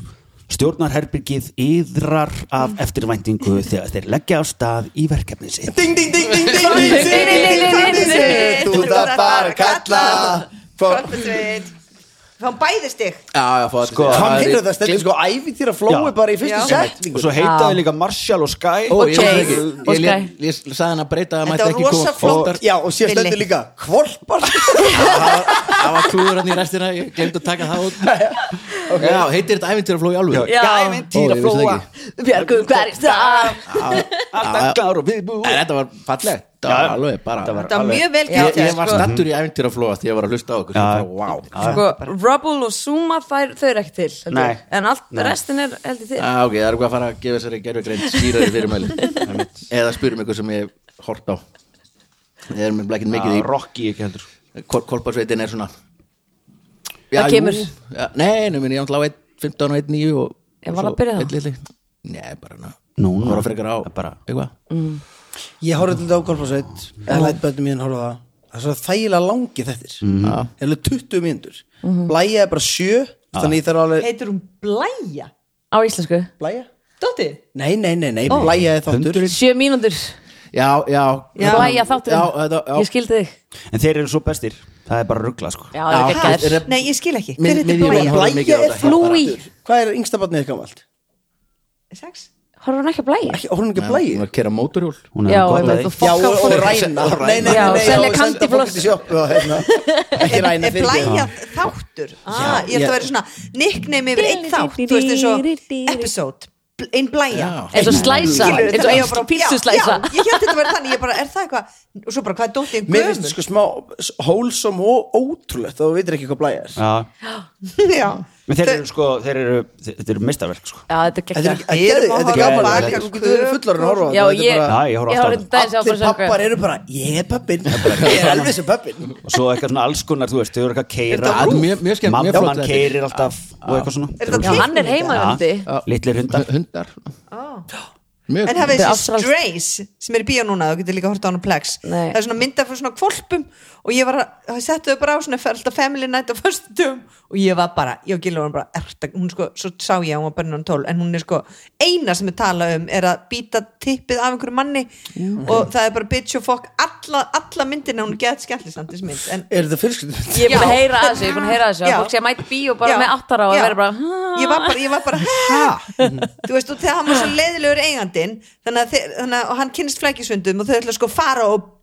E: Stjórnarherbyggið yðrar af eftirvæntingu þegar þeir leggja á stað í verkefni sitt.
F: Ding, ding, ding, ding, ding, ding, ding, ding, ding, ding, ding Þú það bara kalla Fá-
C: Kvolpasveit. Við fáum bæði stig.
B: Já, já, fá þetta
E: Sko,
F: Hann heyrðu það stendur sko ævintýra flói
E: Já.
F: bara í fyrstu
C: Já.
E: Og svo
F: setningu
E: heitaði
D: Já.
E: líka Marshall og Sky
B: Ó,
D: Og
B: ég vissi
D: Chase,
B: ekki.
D: og
B: Ég,
D: Sky.
B: ég, ég sagði hann að breyta það
C: Þetta
B: mætti
C: var
B: ekki
C: rosa
B: koma
C: flott.
B: oftar.
F: Já, og sér
C: Billy.
F: stendur líka Hvolpar
B: Það var klúður hann í restina, ég glemt að taka
C: [laughs]
B: það út Já, heitir þetta ævintýraflói alveg
D: Já.
B: Ævintýraflóa
D: Björgun hverjist það?
E: Alltaf klar og viðbúið.
B: En þetta var falleg
E: Já.
B: Þetta var alveg bara
E: Þetta var-
C: Þetta var
E: Alveg.
C: mjög vel
D: Já,
C: gert.
B: Ég,
C: hjá
B: ég
C: þér,
B: var
C: sko.
B: stattur í ævintýraflóa því ég var að hlusta á okkur
E: Já.
B: Ég bara, Vá
D: Sko, Rubble og Suma, þær, þau eru ekki til. heldur.
E: Nei.
D: En allt,
E: Nei.
D: restin er heldur til.
B: Já, ok, það er eitthvað að fara að gefa þessari gerfugreind skýraði
E: [laughs]
B: fyrirmæli Eða spyrum ykkur sem ég hef hort á Ég er með blækinn mikið í
E: Rocky ekki heldur.
B: Kol Kolparsveitin er svona
D: Það kemur.
B: já, Nei, nú minn ég ántlá 15 og 1, 9 og
D: Ég var að byrja það.
B: það Nei, bara ná
E: Nú, nú.
B: Hóra frekar á
E: Það bara-
B: Eitthvað
F: Ég horfði til þetta á golfarsveit eða lætt bönnum mín horfa á það það er svo þægilega langi þettir mm -hmm. 20 mínútur blæja er bara 7 þannig ég þarf alveg
C: Heitir hún Blæja?
D: Á íslensku.
F: blæja?
C: Dótti?
F: Nei, nei, nei, nei, blæja er þáttur
D: Sjö mínúndur.
B: Já, já
D: Já. Blæja þátturinn.
B: Já, þetta, já
D: Ég skildi þig.
E: En þeir eru svo bestir Það er bara ruggla sko
D: Já, það er
B: Já,
D: geggjær.
B: er-
C: Nei, ég skil ekki.
B: Mið-
C: Hver heitir
B: miðjumenn
C: Blæja?
B: horfa mikið
F: blæja
B: á
F: er
B: þetta.
D: Flúi.
F: þáttur hvað er yngsta barnið eitthvað allt?
C: Sex?
D: Horfður hann ekki að blæja?
F: Ekki- horfum ekki að blæja
B: Hún er að kera mótorhjól
E: Hún er
D: Já,
E: að gott að
D: einmitt,
E: því
D: og fokka
F: og, og
D: fólki.
F: ræna
B: Og ræna.
F: Nei, nei, nei,
D: Já,
F: nei,
D: selja
F: og
D: candy
F: senda fólki
D: floss.
F: til sjoppu og, hérna, ekki ræna
C: Er
F: fyrir
C: Blæja þáttur? Ah, ég ætla að vera svona nickname yfir einn þátt. Þú veist eins og episode. bl- ein blæja
B: Já.
D: Eins og slæsa,
C: Skilurðu,
D: eins og
C: þannig að
D: eiga bara pítstuslæsa.
C: já, já, ég held þetta verið þannig, ég bara, er það eitthvað og svo bara, hvað er um dóttið
F: Mér finnst sko smá hólsom og ótrúlegt þá þú veitir ekki hvað blæja er
E: Já.
D: sko-
C: [laughs] já,
E: Men þeir eru sko, þeir eru, þetta eru mistarverk sko.
D: Já, þetta er
F: Þetta
D: gekkja
F: er- þetta er- þetta
C: Já,
F: er gaman
C: bara-
F: þetta er- Þú eru fullar að horfa á
D: Já,
F: þetta,
D: ég,
F: þetta er bara-
E: Já, ég horf
D: ég
E: alltaf á
D: horfði um daginn sem
F: Allir
D: var bara
F: pappar eru bara, ég er pappin Ég er alveg sem pappin
E: Og svo eitthvað svona alls konar, þú veist, þau eru eitthvað að keira
B: Þetta var rúf. Mjög- mjög skemmt, mjög
E: Mamman
B: flott þetta.
E: keirir alltaf og eitthvað svona
C: Er þetta
D: Já, hann er heimaverndi
E: Já, Litlir hundar
B: hundar Mjög
C: en hafið
D: Þetta er
C: þessi
D: ástralskt.
C: Strays sem er í bíó núna, þú getur líka horta á hann á Plex
D: Nei.
C: það er svona myndað fyrir svona kvolpum og ég var að setja þau bara á svona fyrir alltaf family night á föstudum og ég var bara, ég og Gilur var bara erta, hún sko, svo sá ég að hún var bönnun 12 en hún er sko, eina sem við tala um er að býta tippið af einhverju manni og það er bara bitch og fokk alla, alla myndina hún get skemmtislandis mynd en
F: Er þetta fyrskildum?
D: Ég er búin að
C: Já.
D: heyra að þessu, ég er búin að heyra að þessu að
C: Já.
D: fólk sé að mæta í bíó
C: Já,
D: bara með áttara og
C: já.
D: vera bara "Ha?"
C: ég var bara, ég var bara "Ha?" þú veist og þegar hann var svo leiðilegur eigandinn þannig að, þeir, þannig að og hann kynist flækisvundum og þau ætla sko að fara og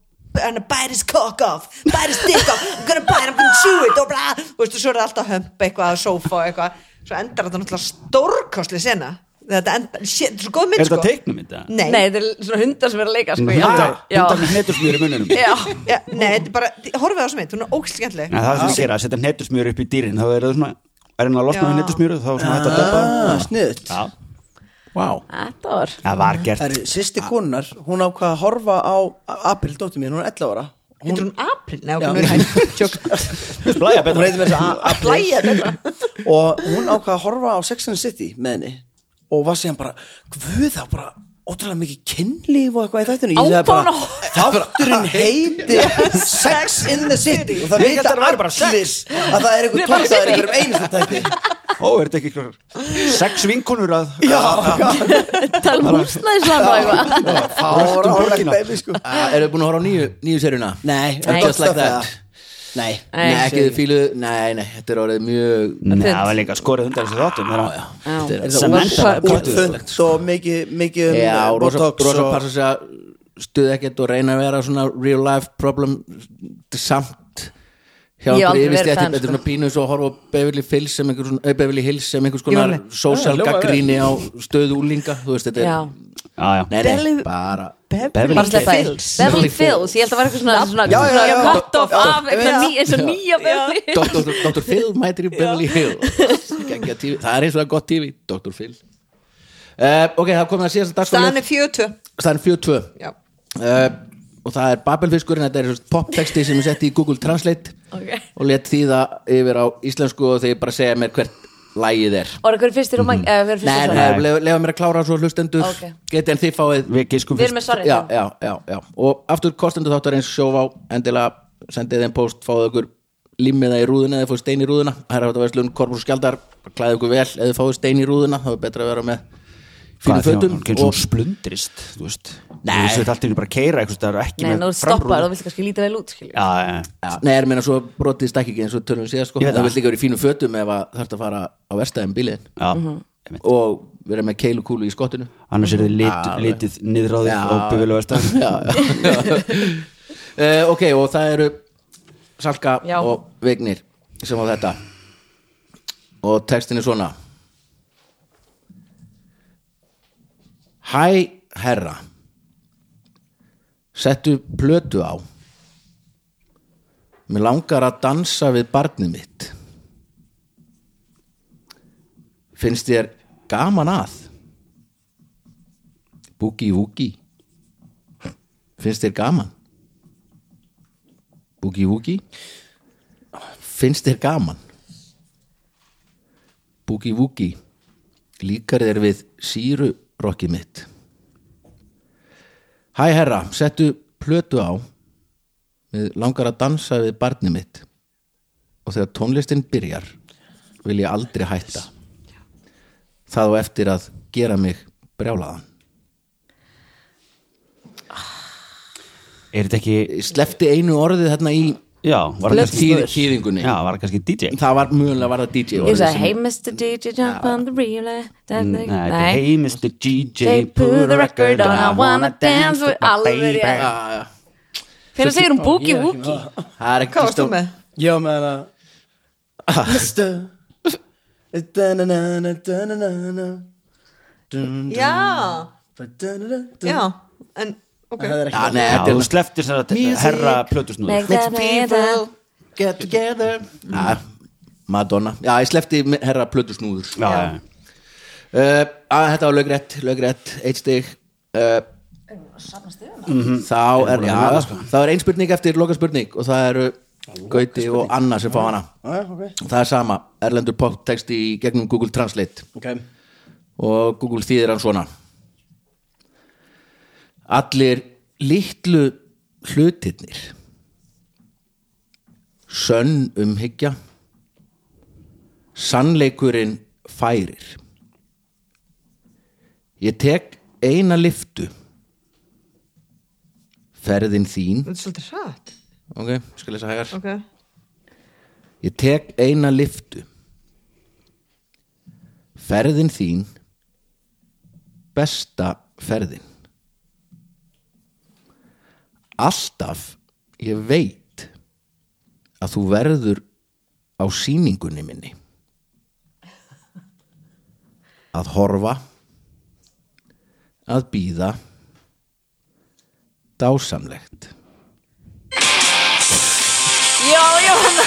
C: hann bæri his cock off bæri his dick off, I'm gonna bite, I'm gonna chew it og bla, þú veist og svo er það alltaf hömp eitthvað á sófa og eitthvað, svo endar þetta náttúrulega stórkostli sena þetta endar, shit, þetta er svo góð mynd
E: Er
C: sko
E: þetta teiknum þetta?
C: Nei,
D: Nei, þetta er svona hundar sem er að leika sko. já.
E: Hundar,
D: Já.
E: hundar með hnetusmjör í mununum
D: Já.
C: ja, nei, þetta er bara, horfið á þessu mynd, hún er ógst skemmtileg
E: Nei, það er svona að gera, að setja hnetusmjör upp í dýrin þá er það svona, er hann að losna við
C: Já.
E: hnetusmjöru þá er svona hægt að döpa
F: Sniðut
E: Já,
B: Vá
D: Þetta var
E: það var gert
F: Sýsti konar, hún ákvað að horfa á April, dóttir mín, hún er 11 ára
C: Þetta er hún april, nei, ok,
F: Já.
C: nú er hægt Tjók.
E: Blæja
F: Hún
E: betra
F: reyndi með þess að April
C: Blæja þetta
F: og hún ákvað að horfa á Sex and the City með henni og var síðan bara, guð það bara ótrúlega mikið kynlíf og eitthvað í þættinu ég
D: Ákvað hún
F: bara,
D: að
F: þátturinn heiti Sex in the City og það
E: Ég hélt
F: vita
E: að það væri bara
F: allir að það er einhver tóksaður í hverjum einastu þætti
E: Ó, er þetta ekki einhver sex vinkonur að
F: já,
D: Tala um húsnæðisland og eitthvað
E: röltum
F: fáránlegt
E: borgina.
F: baby sko
B: Eru búin að horfa á nýju, nýju serjuna?
F: nei,
D: Nei.
F: just like that nei,
D: Nei,
B: Nei, ekki þið fíluðu Nei, nei, þetta er orðið mjög
E: Nei, það var líka skorið undan þessu þáttum það var-
D: Já.
F: Er
E: Sem
F: það
E: endar
F: úr-
E: að
F: úr- þunnt og mikið mikið um,
B: Já,
F: eh,
B: rosa,
F: botox
B: rosa
F: og-
B: passa sig að stuð ekkert og reyna að vera svona real life problem samt hjá
D: Ég hef
B: einhverju
D: aldrei verið
B: yfirstjætti
D: þann,
B: þetta er
D: sko.
B: svona pínu svo að horfa á Beverly Hills sem einhver svona, eh, Beverly Hills sem einhvers konar
C: Ég var með.
B: social
F: Já, hljómaði
B: gaggríni á stöðu úlinga þú veist þetta
D: Já.
B: er
E: Já, já
B: Nei, nei,
C: Beverly-
B: bara
E: Beverly
D: Bara sleppa því.
C: Hills.
D: Beverly Fills, ég held að vera eitthvað svona, svona,
F: Já, já, já, já.
D: svona cut off
F: Já.
D: af eitthvað
F: Já.
D: ný- eins og nýja Beverly Hills.
B: Dr. Dr. Phil mætir í Beverly Hills Geggjað TV. það er eins og það gott TV Dr. Phil uh, ok, það komið að síðast
C: Staðan er 42
B: staðan 42
C: Já.
B: uh, og það er Babelfiskurinn þetta er poptexti sem ég setti í Google Translate
D: Ok.
B: og let þýða yfir á íslensku og þeir bara segja mér hvert lægið er
D: Og eitthvað er fyrstir og mann Við
B: Nei,
D: erum
B: nei, lefa, lefa mér að klára svo hlustendur
D: Ok.
B: geti en þið fáið
E: Við giskum
D: með
E: fyrst
D: sorry
B: já, já, já, já. og aftur kostendur þáttar eins sjófá endilega sendið þeim post, fáið okkur límiða í rúðuna eða fóðu stein í rúðuna það er að vera slun korpus og skjaldar klæðið okkur vel eða fáið stein í rúðuna þá er betra að vera með
E: Hvað er
B: fyrir
E: því
B: fötum
E: að hann
B: og-
E: kynnsum splundrist Þú veist Þú
B: Nei.
E: veist allt í henni bara að keira eitthvað staðar og ekki
D: Nei,
E: með
D: nú stoppar,
E: framrúðu.
D: þú vilt kannski lítið vel út skilju.
E: Já, já, já
B: Já. Nei, er meina svo brotið stakk ekki eins og tölum síðan sko.
E: Ég veit
B: það
E: það.
B: vil líka verið fínum fötum ef það þarf að fara á verstaðum bílinn
E: Já,
D: Mhm.
E: einmitt.
B: og vera með keilukúlu í skottinu
E: annars er þið lit, litið niður á því
B: Mhm. [laughs] Já.
E: og buffilu verðstæð
B: uh, Ok, og það eru Salka
D: Já.
B: og Vignir sem á þetta og textin er svona Hæ herra Settu plötu á Mér langar að dansa við barnið mitt Finnst þér gaman að? Boogie Woogie Finnst þér gaman? Boogie Woogie Finnst þér gaman? Boogie Woogie Líkar þér við síru rokki mitt Hæ herra, settu plötu á Við langar að dansa við barni mitt Og þegar tónlistin byrjar Vil ég aldrei hætta Það á eftir að gera mig brjálaðan
E: Er þetta ekki
B: Slefti einu orðið þarna í
E: Já, var það kannski
B: Þýð- þýðingunni
E: Já, var það kannski DJ
B: það var mjögulega var það DJ
D: Ég
B: orðið
D: sagði,
B: sem-
D: hey Mr. DJ, jump on the relay
E: Mm, Nei, þetta er,
D: Nei,
E: hey Mr. DJ
D: They put the record on, I wanna dance with Alveg rétt.
E: Já,
B: Já, já.
D: hvernig segir hún boogie woogie?
B: það er ekki
C: Hvað varst þú
B: stór-
C: með?
F: Já, með hana Mister Da-na-na-na, da-na-na-na dun, dun,
C: Já,
F: dun, dun, dun, dun.
C: já, en ok
F: það er
B: Já,
F: ekki
B: Ah, nei,
E: Já,
B: þetta er
E: þú sleftir sér að herra plötusnúður
D: Make them evil.
B: Get together ja, Mm. Ah, Madonna, já ég slefti herra plötusnúður
E: Já, já, já.
B: uh, að, Þetta var lögrétt, lögrétt, eitt stig uh, Þá er, já, þá er ein spurning eftir loka spurning og það eru Gauti og Anna sem fá hana
F: Ok,
B: Það er sama, Erlendur Pop texti í gegnum Google Translate
F: ok
B: og Google þýðir hann svona Allir litlu hlutirnir sönn umhyggja sannleikurinn færir Ég tek eina lyftu ferðin þín
C: Þetta er svolítið hratt
B: ok, skal lesa hægar
C: Ok,
B: Ég tek eina lyftu Ferðin þín Besta ferðin Alltaf ég veit að þú verður á sýningunni minni að horfa að býða dásamlegt
D: Já, já, hann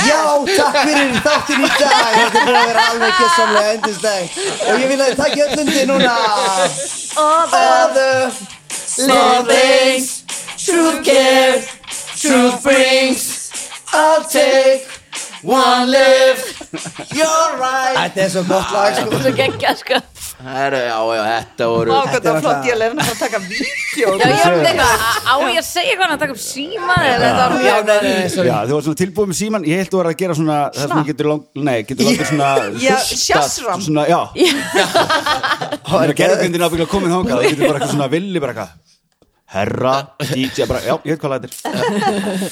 F: Já, takk fyrir þáttin í dag Þetta er búin að vera alveg kessamlega endisleg Og ég vil að takk ég öllundi núna Other Lovings Truth gives Truth brings I'll take One live You're right Þetta er svo gott lag sko.
D: er svo geggja, sko
B: Herra, já, já, þetta voru
C: Vá, hvað það
F: var
C: var flott,
F: það.
C: ég lefna að taka vídeo
D: Já, ég var eitthvað, á ég að segja hvað hann að taka upp síma Þetta var
F: Já,
D: mjög
F: nei, nei, nei, sorry
E: Já, þú var svona tilbúið með síman Ég held þú var að gera svona Það sem þú getur lang, nei, getur langur svona
C: Já,
E: hlustað,
C: sjassram.
E: Svona, já Það er gerðugundin ábyggla komin þangað Það getur bara eitthvað svona villi bara eitthvað Herra, DJ, bara, já, ég veit hvað það er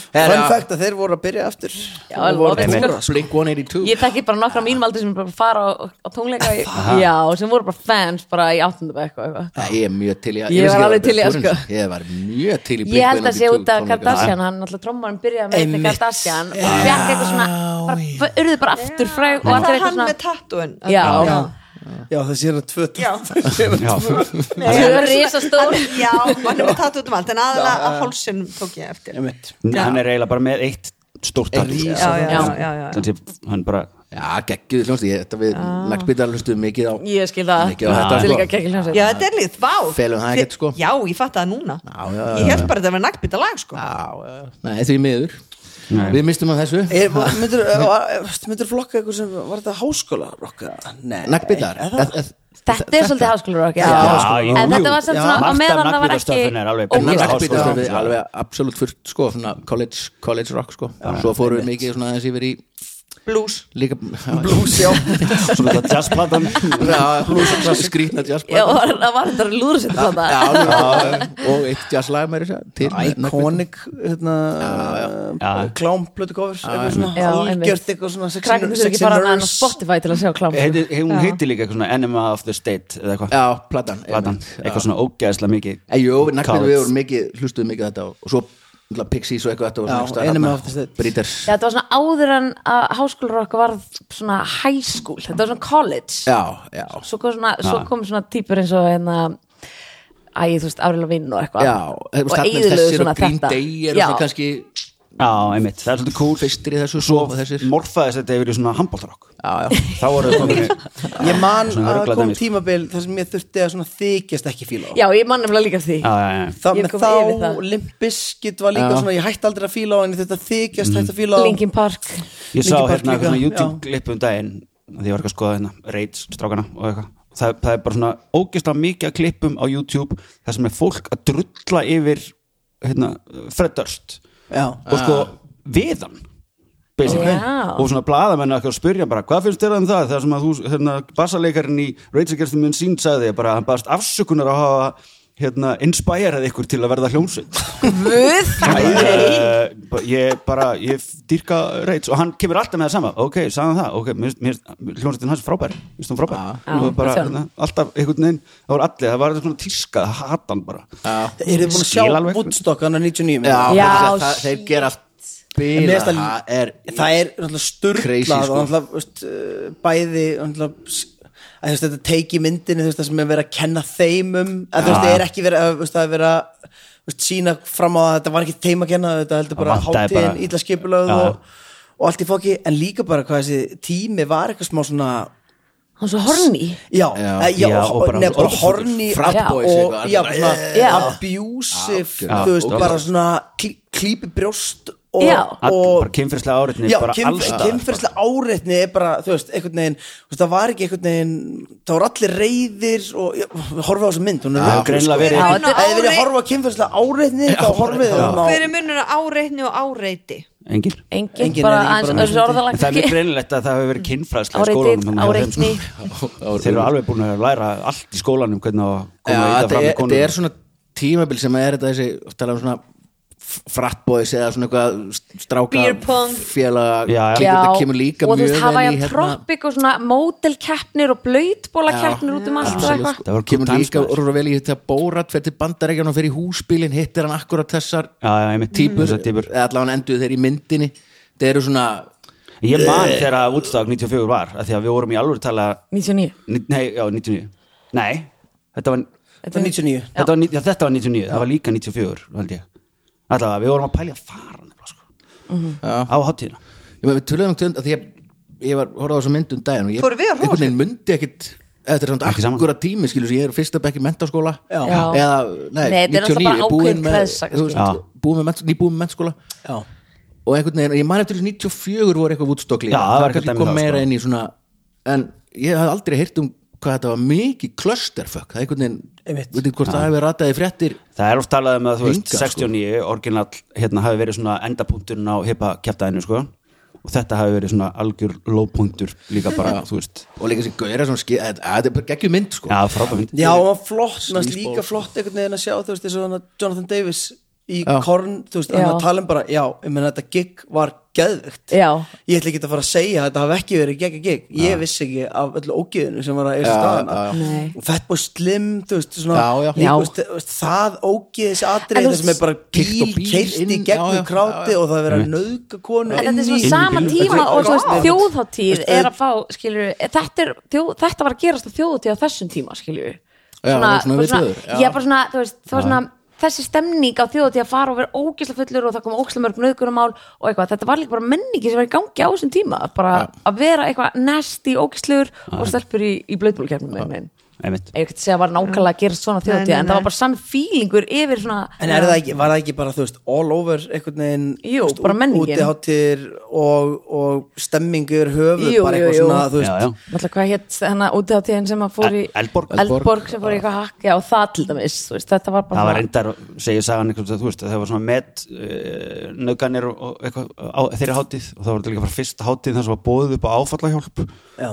F: Fun fact að þeir voru að byrja aftur
D: Já, I love it, sko
B: Blink 182
D: Ég þekki bara nokkra mínum aldrei sem bara fara á, á tónleika í, Já, sem voru bara fans bara í áttundabæk og eitthvað
B: Nei, Ég er mjög til í að
D: Ég
B: vissi
D: var
B: ekki
D: alveg
B: að það
D: til í að,
B: var Björn
D: sko.
B: Þorsteinsson. Ég var mjög til í
D: Ég held að sé út af
B: Kardashian
D: Kardashian, hann alltaf trommarinn byrjaði með þetta
F: Einmitt.
D: Kardashian og fekk eitthvað svona, bara, urðu bara aftur fræg og
C: Það
D: allir
C: var
D: eitthvað
C: hann með
D: svona
C: tattúin
D: Já,
C: já,
F: Já, það sé hérna tvö
C: já.
E: Já,
D: það var risastór
C: Já, hann er með tattúin um allt En aðalega að hálsinn tók ég eftir Já,
F: Einmitt.
E: hann er eiginlega bara með eitt stórt tatt
F: Rísa
E: Já,
C: já, já, já, já.
E: Þannig að hann bara
B: Já, geggjuð hljómsið, ég- þetta við naglbítar hlustuðum mikið á
D: Ég skil það,
B: Mikið á þetta,
D: til líka
B: sko.
D: geggja hljómsveit
C: Já, þetta er líkt, vá
B: Felum það ekkert, sko.
C: Já, ég fatt það núna
B: Já, já, já,
C: Ég held bara að þetta var nagbita lag, sko
B: Já, já, Nei, því miður
E: Nei.
B: Við mistum að þessu
F: Er, myndur, myndur flokka eitthvað sem var þetta háskóla rokka? Nei,
B: Naglbítar
F: er það-
D: Þetta er svolítið háskólarokk, já
E: Já, jú,
D: En þetta
E: jú.
D: var samt
E: Já.
D: svona, á
E: Margt af
D: meðan það var ekki
E: naglbítastöfinu er alveg-
D: ógeðslegt.
E: Nagl-
B: Naglbítar
E: háskóla.
B: er alveg absolutt fullt sko, svona college, college rock sko. Svo fórum við mikið svona þessi verið í
C: Blues
B: líka Blues,
D: [laughs]
B: já
E: Svona það jazzplatan
B: [laughs] Já, blues, skrýtna jazzband
D: Já, og það var þetta lúðursettur frá
B: Já, já, og eitt jazzlag meira sér til
F: Iconic hérna,
E: Já.
F: klámblötu kofur eitthvað svona
D: Já, einmitt.
F: algjört eitthvað svona Sex
D: Krakkarnir
F: and-
D: þurfa
F: Sex
D: ekki bara
F: and
D: með hann á
F: Nerds.
D: Spotify til að sjá klám
E: Heiti- he- Hún
D: Já.
E: heitir líka eitthvað svona Enema of the State Eða eitthvað,
B: Já, platan,
E: platan
B: einmitt.
E: Eitthvað svona ógæðslega mikið
B: En jú, við naglum
E: College.
B: við vorum mikið, hlustuðum mikið þetta og, og svo náttúrulega Pixies og eitthvað þetta
F: Já,
B: var
F: Enema of the State.
B: Bríters
D: Já, þetta var svona áður en að háskólarokk var svona high school, þetta var svona college
B: Já, já,
D: svo kom svona, svo kom svona típur eins og hérna æ, þú veist, Afrila Vinn og eitthvað
B: já
D: og
B: þarna eru
D: eigðilegu
B: þessir
D: svona
B: og Green
D: þetta
B: Day eru svona
D: já,
B: kannski
E: Já, einmitt, það er svolítið cool
B: fyrstir í þessu
E: Svo
B: svo þessir Já,
E: morfaðist þetta yfir í svona handbóltarokk
B: já,
E: Þá voru það
F: [laughs]
E: komin
F: ég man
E: Svona
F: að
E: ruglað
F: kom
E: dæmi.
F: tímabil þar sem ég þurfti að svona þykjast ekki fíla á.
D: já, ég mann nefnilega líka því
E: Já, já, já
F: Þá,
D: Ég
F: með
D: kom yfir
F: þá
D: það.
F: limbiskit var líka
B: Já.
F: svona ég hætti aldrei að fíla á en ég þurfti að þykjast hætti að fíla á
D: Linkin Park
E: Ég sá
F: Linkin Park
E: hérna
F: líka,
E: eitthvað svona
F: já.
E: YouTube-klipp um daginn að því ég var ekki að skoða hérna Raids, strákana og eitthvað það, það er bara svona ógeðslega mikið að klippum á YouTube þar sem er fólk að drulla yfir hérna, Fred Durst
F: Já.
E: og sko
B: Ah.
E: viðan basically
D: Já.
E: og svona blaðamenn að spyrja hann bara hvað finnst þér um það þar sem að þú, hérna, bassaleikarin í Rage Against the Machine sagði bara að hann baðast afsökunar að hafa hérna, inspirað ykkur til að verða hljómsveit
D: Guð
E: Eh, ba- ég bara, ég dýrka reits og hann kemur alltaf með það sama ok, sagði hann það, ok, mér- mér- hljómsveitin hans er frábær mér finnst hún frábær
D: Já,
E: og bara,
D: sjá.
E: hérna, alltaf einhvern veginn, það voru allir það var eitthvað svona tíska, það hata hann bara
F: eru þið búin að
E: Skil
F: sjá
E: alveg.
F: Woodstock hann á 99
B: já,
F: minna?
D: Já,
B: það- það-
D: shit.
B: Þeir gera allt
F: En
B: spila
F: mér finnst það-
B: það er
F: það er náttúrulega
B: Crazy,
F: sturglað
B: sko.
F: og náttúrulega veist, eh, bæði náttúrulega s- að þú veist, þetta teiki myndinu þú veist, það sem er verið að kenna þeim um að þú veist, það er ekki verið að, þú veist, að vera sína fram á að þetta var ekki þeim að kenna þetta heldur bara
E: vantaði bara-
F: hátíðin, illa skipulöð
E: Já.
F: og, og allt í fóki, en líka bara hvað þessi tími var eitthvað smá svona
D: hann er svo horny
B: Já.
F: Já, eh, já,
E: Já, og
F: og
E: bara-
F: nefn bara
E: og-
F: horni
B: Frat
F: og-
B: boys
F: og
B: eitthvað,
F: já,
B: bara,
F: svona,
D: Já.
F: abusive,
E: Já,
F: þú veist,
E: og-
F: bara svona klí- klípi brjóst og,
D: Já.
E: All,
F: og
E: bara kynfyrslega áreitni
F: Já,
E: bara alls
F: kynf-
E: staðar.
F: kynferðislega áreitni er bara, þú veist, einhvern veginn þú veist, það var ekki einhvern veginn, það voru allir reyðir og já, horfa á þessa mynd hún er
E: hefur greinilega verið-
D: Já,
F: Ef
D: þetta er-
F: þið verið að horfa á kynferðislega áreitni þá horfið þið hún á
C: hver er munur á áreitni og áreiti
E: engin
D: engin,
F: Engin
D: bara
F: er ekki bara
D: aðeins þessu
F: mismunandi.
E: En
D: orðalag
E: það er mjög
D: kannski.
E: greinilegt að það hefur verið kynfræðsla í skólanum
D: áreitið,
E: þannig að þeim,
D: áreitni
E: sko, [laughs] Þeir eru alveg búin að læra allt í skólanum hvernig að koma
B: Já,
E: að íta
B: þetta
E: fram
B: er,
E: með konum
B: þetta er svona tímabil sem er þetta þessi, tala um svona frattbóðis eða svona eitthvað stráka
C: Beer pong.
B: félaga
E: Já, já.
B: kemur, þetta kemur líka
D: og þú
B: mjög
D: veist, hafa
B: vel
D: ég
B: í hérna-
D: troppik og svona mótelkeppnir og blöytbólakeppnir út um allt og
E: Absolutt,
D: eitthvað
E: sko. Það var
B: kemur
E: good
B: líka
E: times, maður.
B: orður vel í þetta bórat fyrir bandarækjan og fyrir húsbílinn hittir hann akkurat þessar
E: Já, já, einmitt
B: típur,
E: Þessar típur.
B: eða allavega enduð þeir í myndinni það eru svona
E: Ég man þegar að útstafak 94 var að því að við vorum í alveg tala
D: 99
E: Nei, já, 99 Nei, þetta var,
F: það er 99
E: þetta var, ní- já, þetta var 99 Það var líka 94, held ég Allavega, við vorum að pælja að fara nefnilega, sko. á hátíðina
B: ég meina, við tölum um tund að því að ég var horfði á þessu mynd um daginn og ég
C: Fóru við á Hróarskeldu?
B: einhvern veginn myndi ekkit þetta er
E: Ekki
B: svona
E: saman.
B: akkurat tími skilur sem ég er fyrsta bekk í mentaskóla
F: Já.
D: Já.
B: eða nei,
D: Nei, þetta er
B: 99
D: náttúrulega bara
B: búinn
D: ákveðin
B: með,
D: kreðsa,
B: þú
E: kannski.
B: veist, búin með menta, nýbúin með mentaskóla
F: Já.
B: og einhvern veginn, ég man eftir þessu 94 voru eitthvað vútstokli
E: Já, það var eitthvað dæmi
B: kom
E: þá,
B: meira
E: sko.
B: inn í svona en ég hafði aldrei heyrt um hvað þetta var mikið clusterfuck það er einhvern veginn,
F: Einmitt.
B: veit ekki hvort það hefur rataði fréttir
E: Það er oft talað um að þú veist
B: Hingað, sko.
E: 69 orginal hérna hafi verið svona endapunkturinn á hippa kjæftæðinu sko og þetta hafi verið svona algjör lópunktur líka bara, þú veist
B: og líka sem gauðra sem skil, að, að þetta er bara geggjum mynd sko.
E: Já, frábæmynd
F: Já, og hann flott, næst
B: Sleazeball.
F: líka flott einhvern veginn að sjá, þú veist, þessu hann Jonathan Davis í
B: Já.
F: Korn, þú veist, hann
D: Já.
F: að tala um bara já, ég meina þetta gig var geðvögt
D: Já.
F: ég ætla ekki að fara að segja að þetta hafi ekki verið gegg gig, ég vissi ekki af öllu ógiðinu sem var að eða staðana
B: já,
D: já. Nei.
F: og Fatboy Slim, þú veist, svona
B: Já, já.
F: Líka,
D: Já.
F: þú veist, þú veist, það ógið þessi
D: En
F: atrið
D: þú
F: það sem er bara
B: Keyrt á
F: bíl,
B: bíl
F: keirt í
B: inn, já, já,
F: gegnum
B: já, já.
F: kráti og það er verið að nauðga konu
D: En þetta
F: inn
D: er svona
F: í-
D: sama
E: Inn í bíl.
D: tíma og þú veist,
C: Þetta er-
D: þjóðháttíð er að fá, skilur þetta, er, þjóð, þetta var að gerast á þjóðháttíð á þessum tíma, skilur
B: Já, það var svona við þjóður, já.
D: Ég er bara svona, þú veist, það var svona þessi stemning á þjóðhátíð að fara og vera ógisla fullur og það kom ógisla mörg nöðgunumál og eitthvað, þetta var líka bara menningi sem var í gangi á þessum tíma, bara að vera eitthvað nasty, ógislur og stelpur í, í blöðbólkjarnum einhvern
E: Einmitt.
D: veginn. Ég get segja að var nákvæmlega að gerast svona þjóðhátíð,
C: Nei, nei,
D: en það
C: nei.
D: var bara sami fílingur yfir svona
F: En er það ekki, var það ekki bara, þú veist, all over einhvern veginn,
D: Jú,
F: þú veist,
D: bara
F: út-
D: menningin.
F: útiháttir og, og stemmingur höfuð,
D: Jú,
F: bara
D: jú,
F: eitthvað
D: jú.
F: svona, þú veist,
E: Já, já
D: Náttúrulega hvað hétt þannig úti á tíðin sem að fór í
E: El- Eldborg.
D: Eldborg sem fór í eitthvað hakka og það til dæmis þú veist, þetta var bara
E: Það var reyndar, segir sagan einhvern veginn, þú veist, að það var svona met uh, nöðganir og og eitthvað á þeirri hátíð og það var líka bara fyrsta hátíð þar sem var bóðið upp á áfallahjálp
F: Já.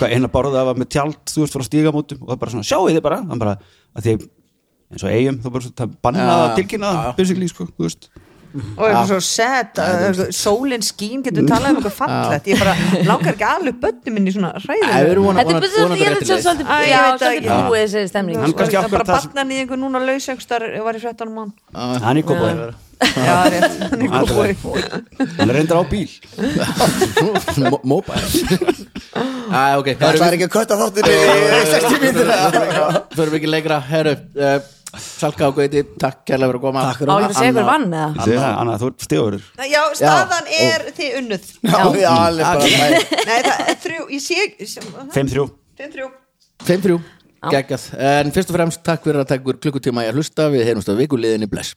E: Hvað eina borða var með tjald, þú veist, frá stígamótum og það bara svona, sjáu þið bara, þannig bara að því eins og eigum, þú bara, það bannaði að tilkynna það, basically, sko, þú veist
C: og eitthvað svo set uh, sólin skín, getur talað um eitthvað fallegt ég bara langar ekki alveg bönni minni í svona
B: Æ, við
C: hræðinu
B: erum vona-
D: Þetta er
B: vona-
D: bara svolítið,
B: vonandi
D: ég
B: rétt
D: er
B: leið.
D: svolítið
C: Æ, ég veit
D: Já,
C: það
D: svolítið
C: ekki.
D: búið þessi stemning
E: Hann
D: sko.
E: kannski
C: bara
E: akkurat það sem-
C: barnan í einhver núna lausengstar var í fréttanum hann
E: Hann er kópaður
C: já, rétt, hann er
E: Hann
C: góð
E: er reyndar á bíl
B: Mo- mobile [laughs] Æ, ok,
F: Það
B: förum
F: er ekki að kötta þáttir í 60 mínir
B: við- förum við ekki lengra herru, uh, Salka og Gauti takk kærlega fyrir að koma
F: Takk fyrir
D: Á ég að segja hver vann eða
E: Segðu það, Anna, þú ert stíður
C: já, staðan er þið unnuð
F: Já, já, alveg bara
C: nei, það er þrjú, ég sé ekki
E: 5-3
C: fimm þrjú
B: 5-3, geggjað en fyrst og fremst takk fyrir að taka úr klukkutíma í að hlusta við heyrumst á vikuliðinni bless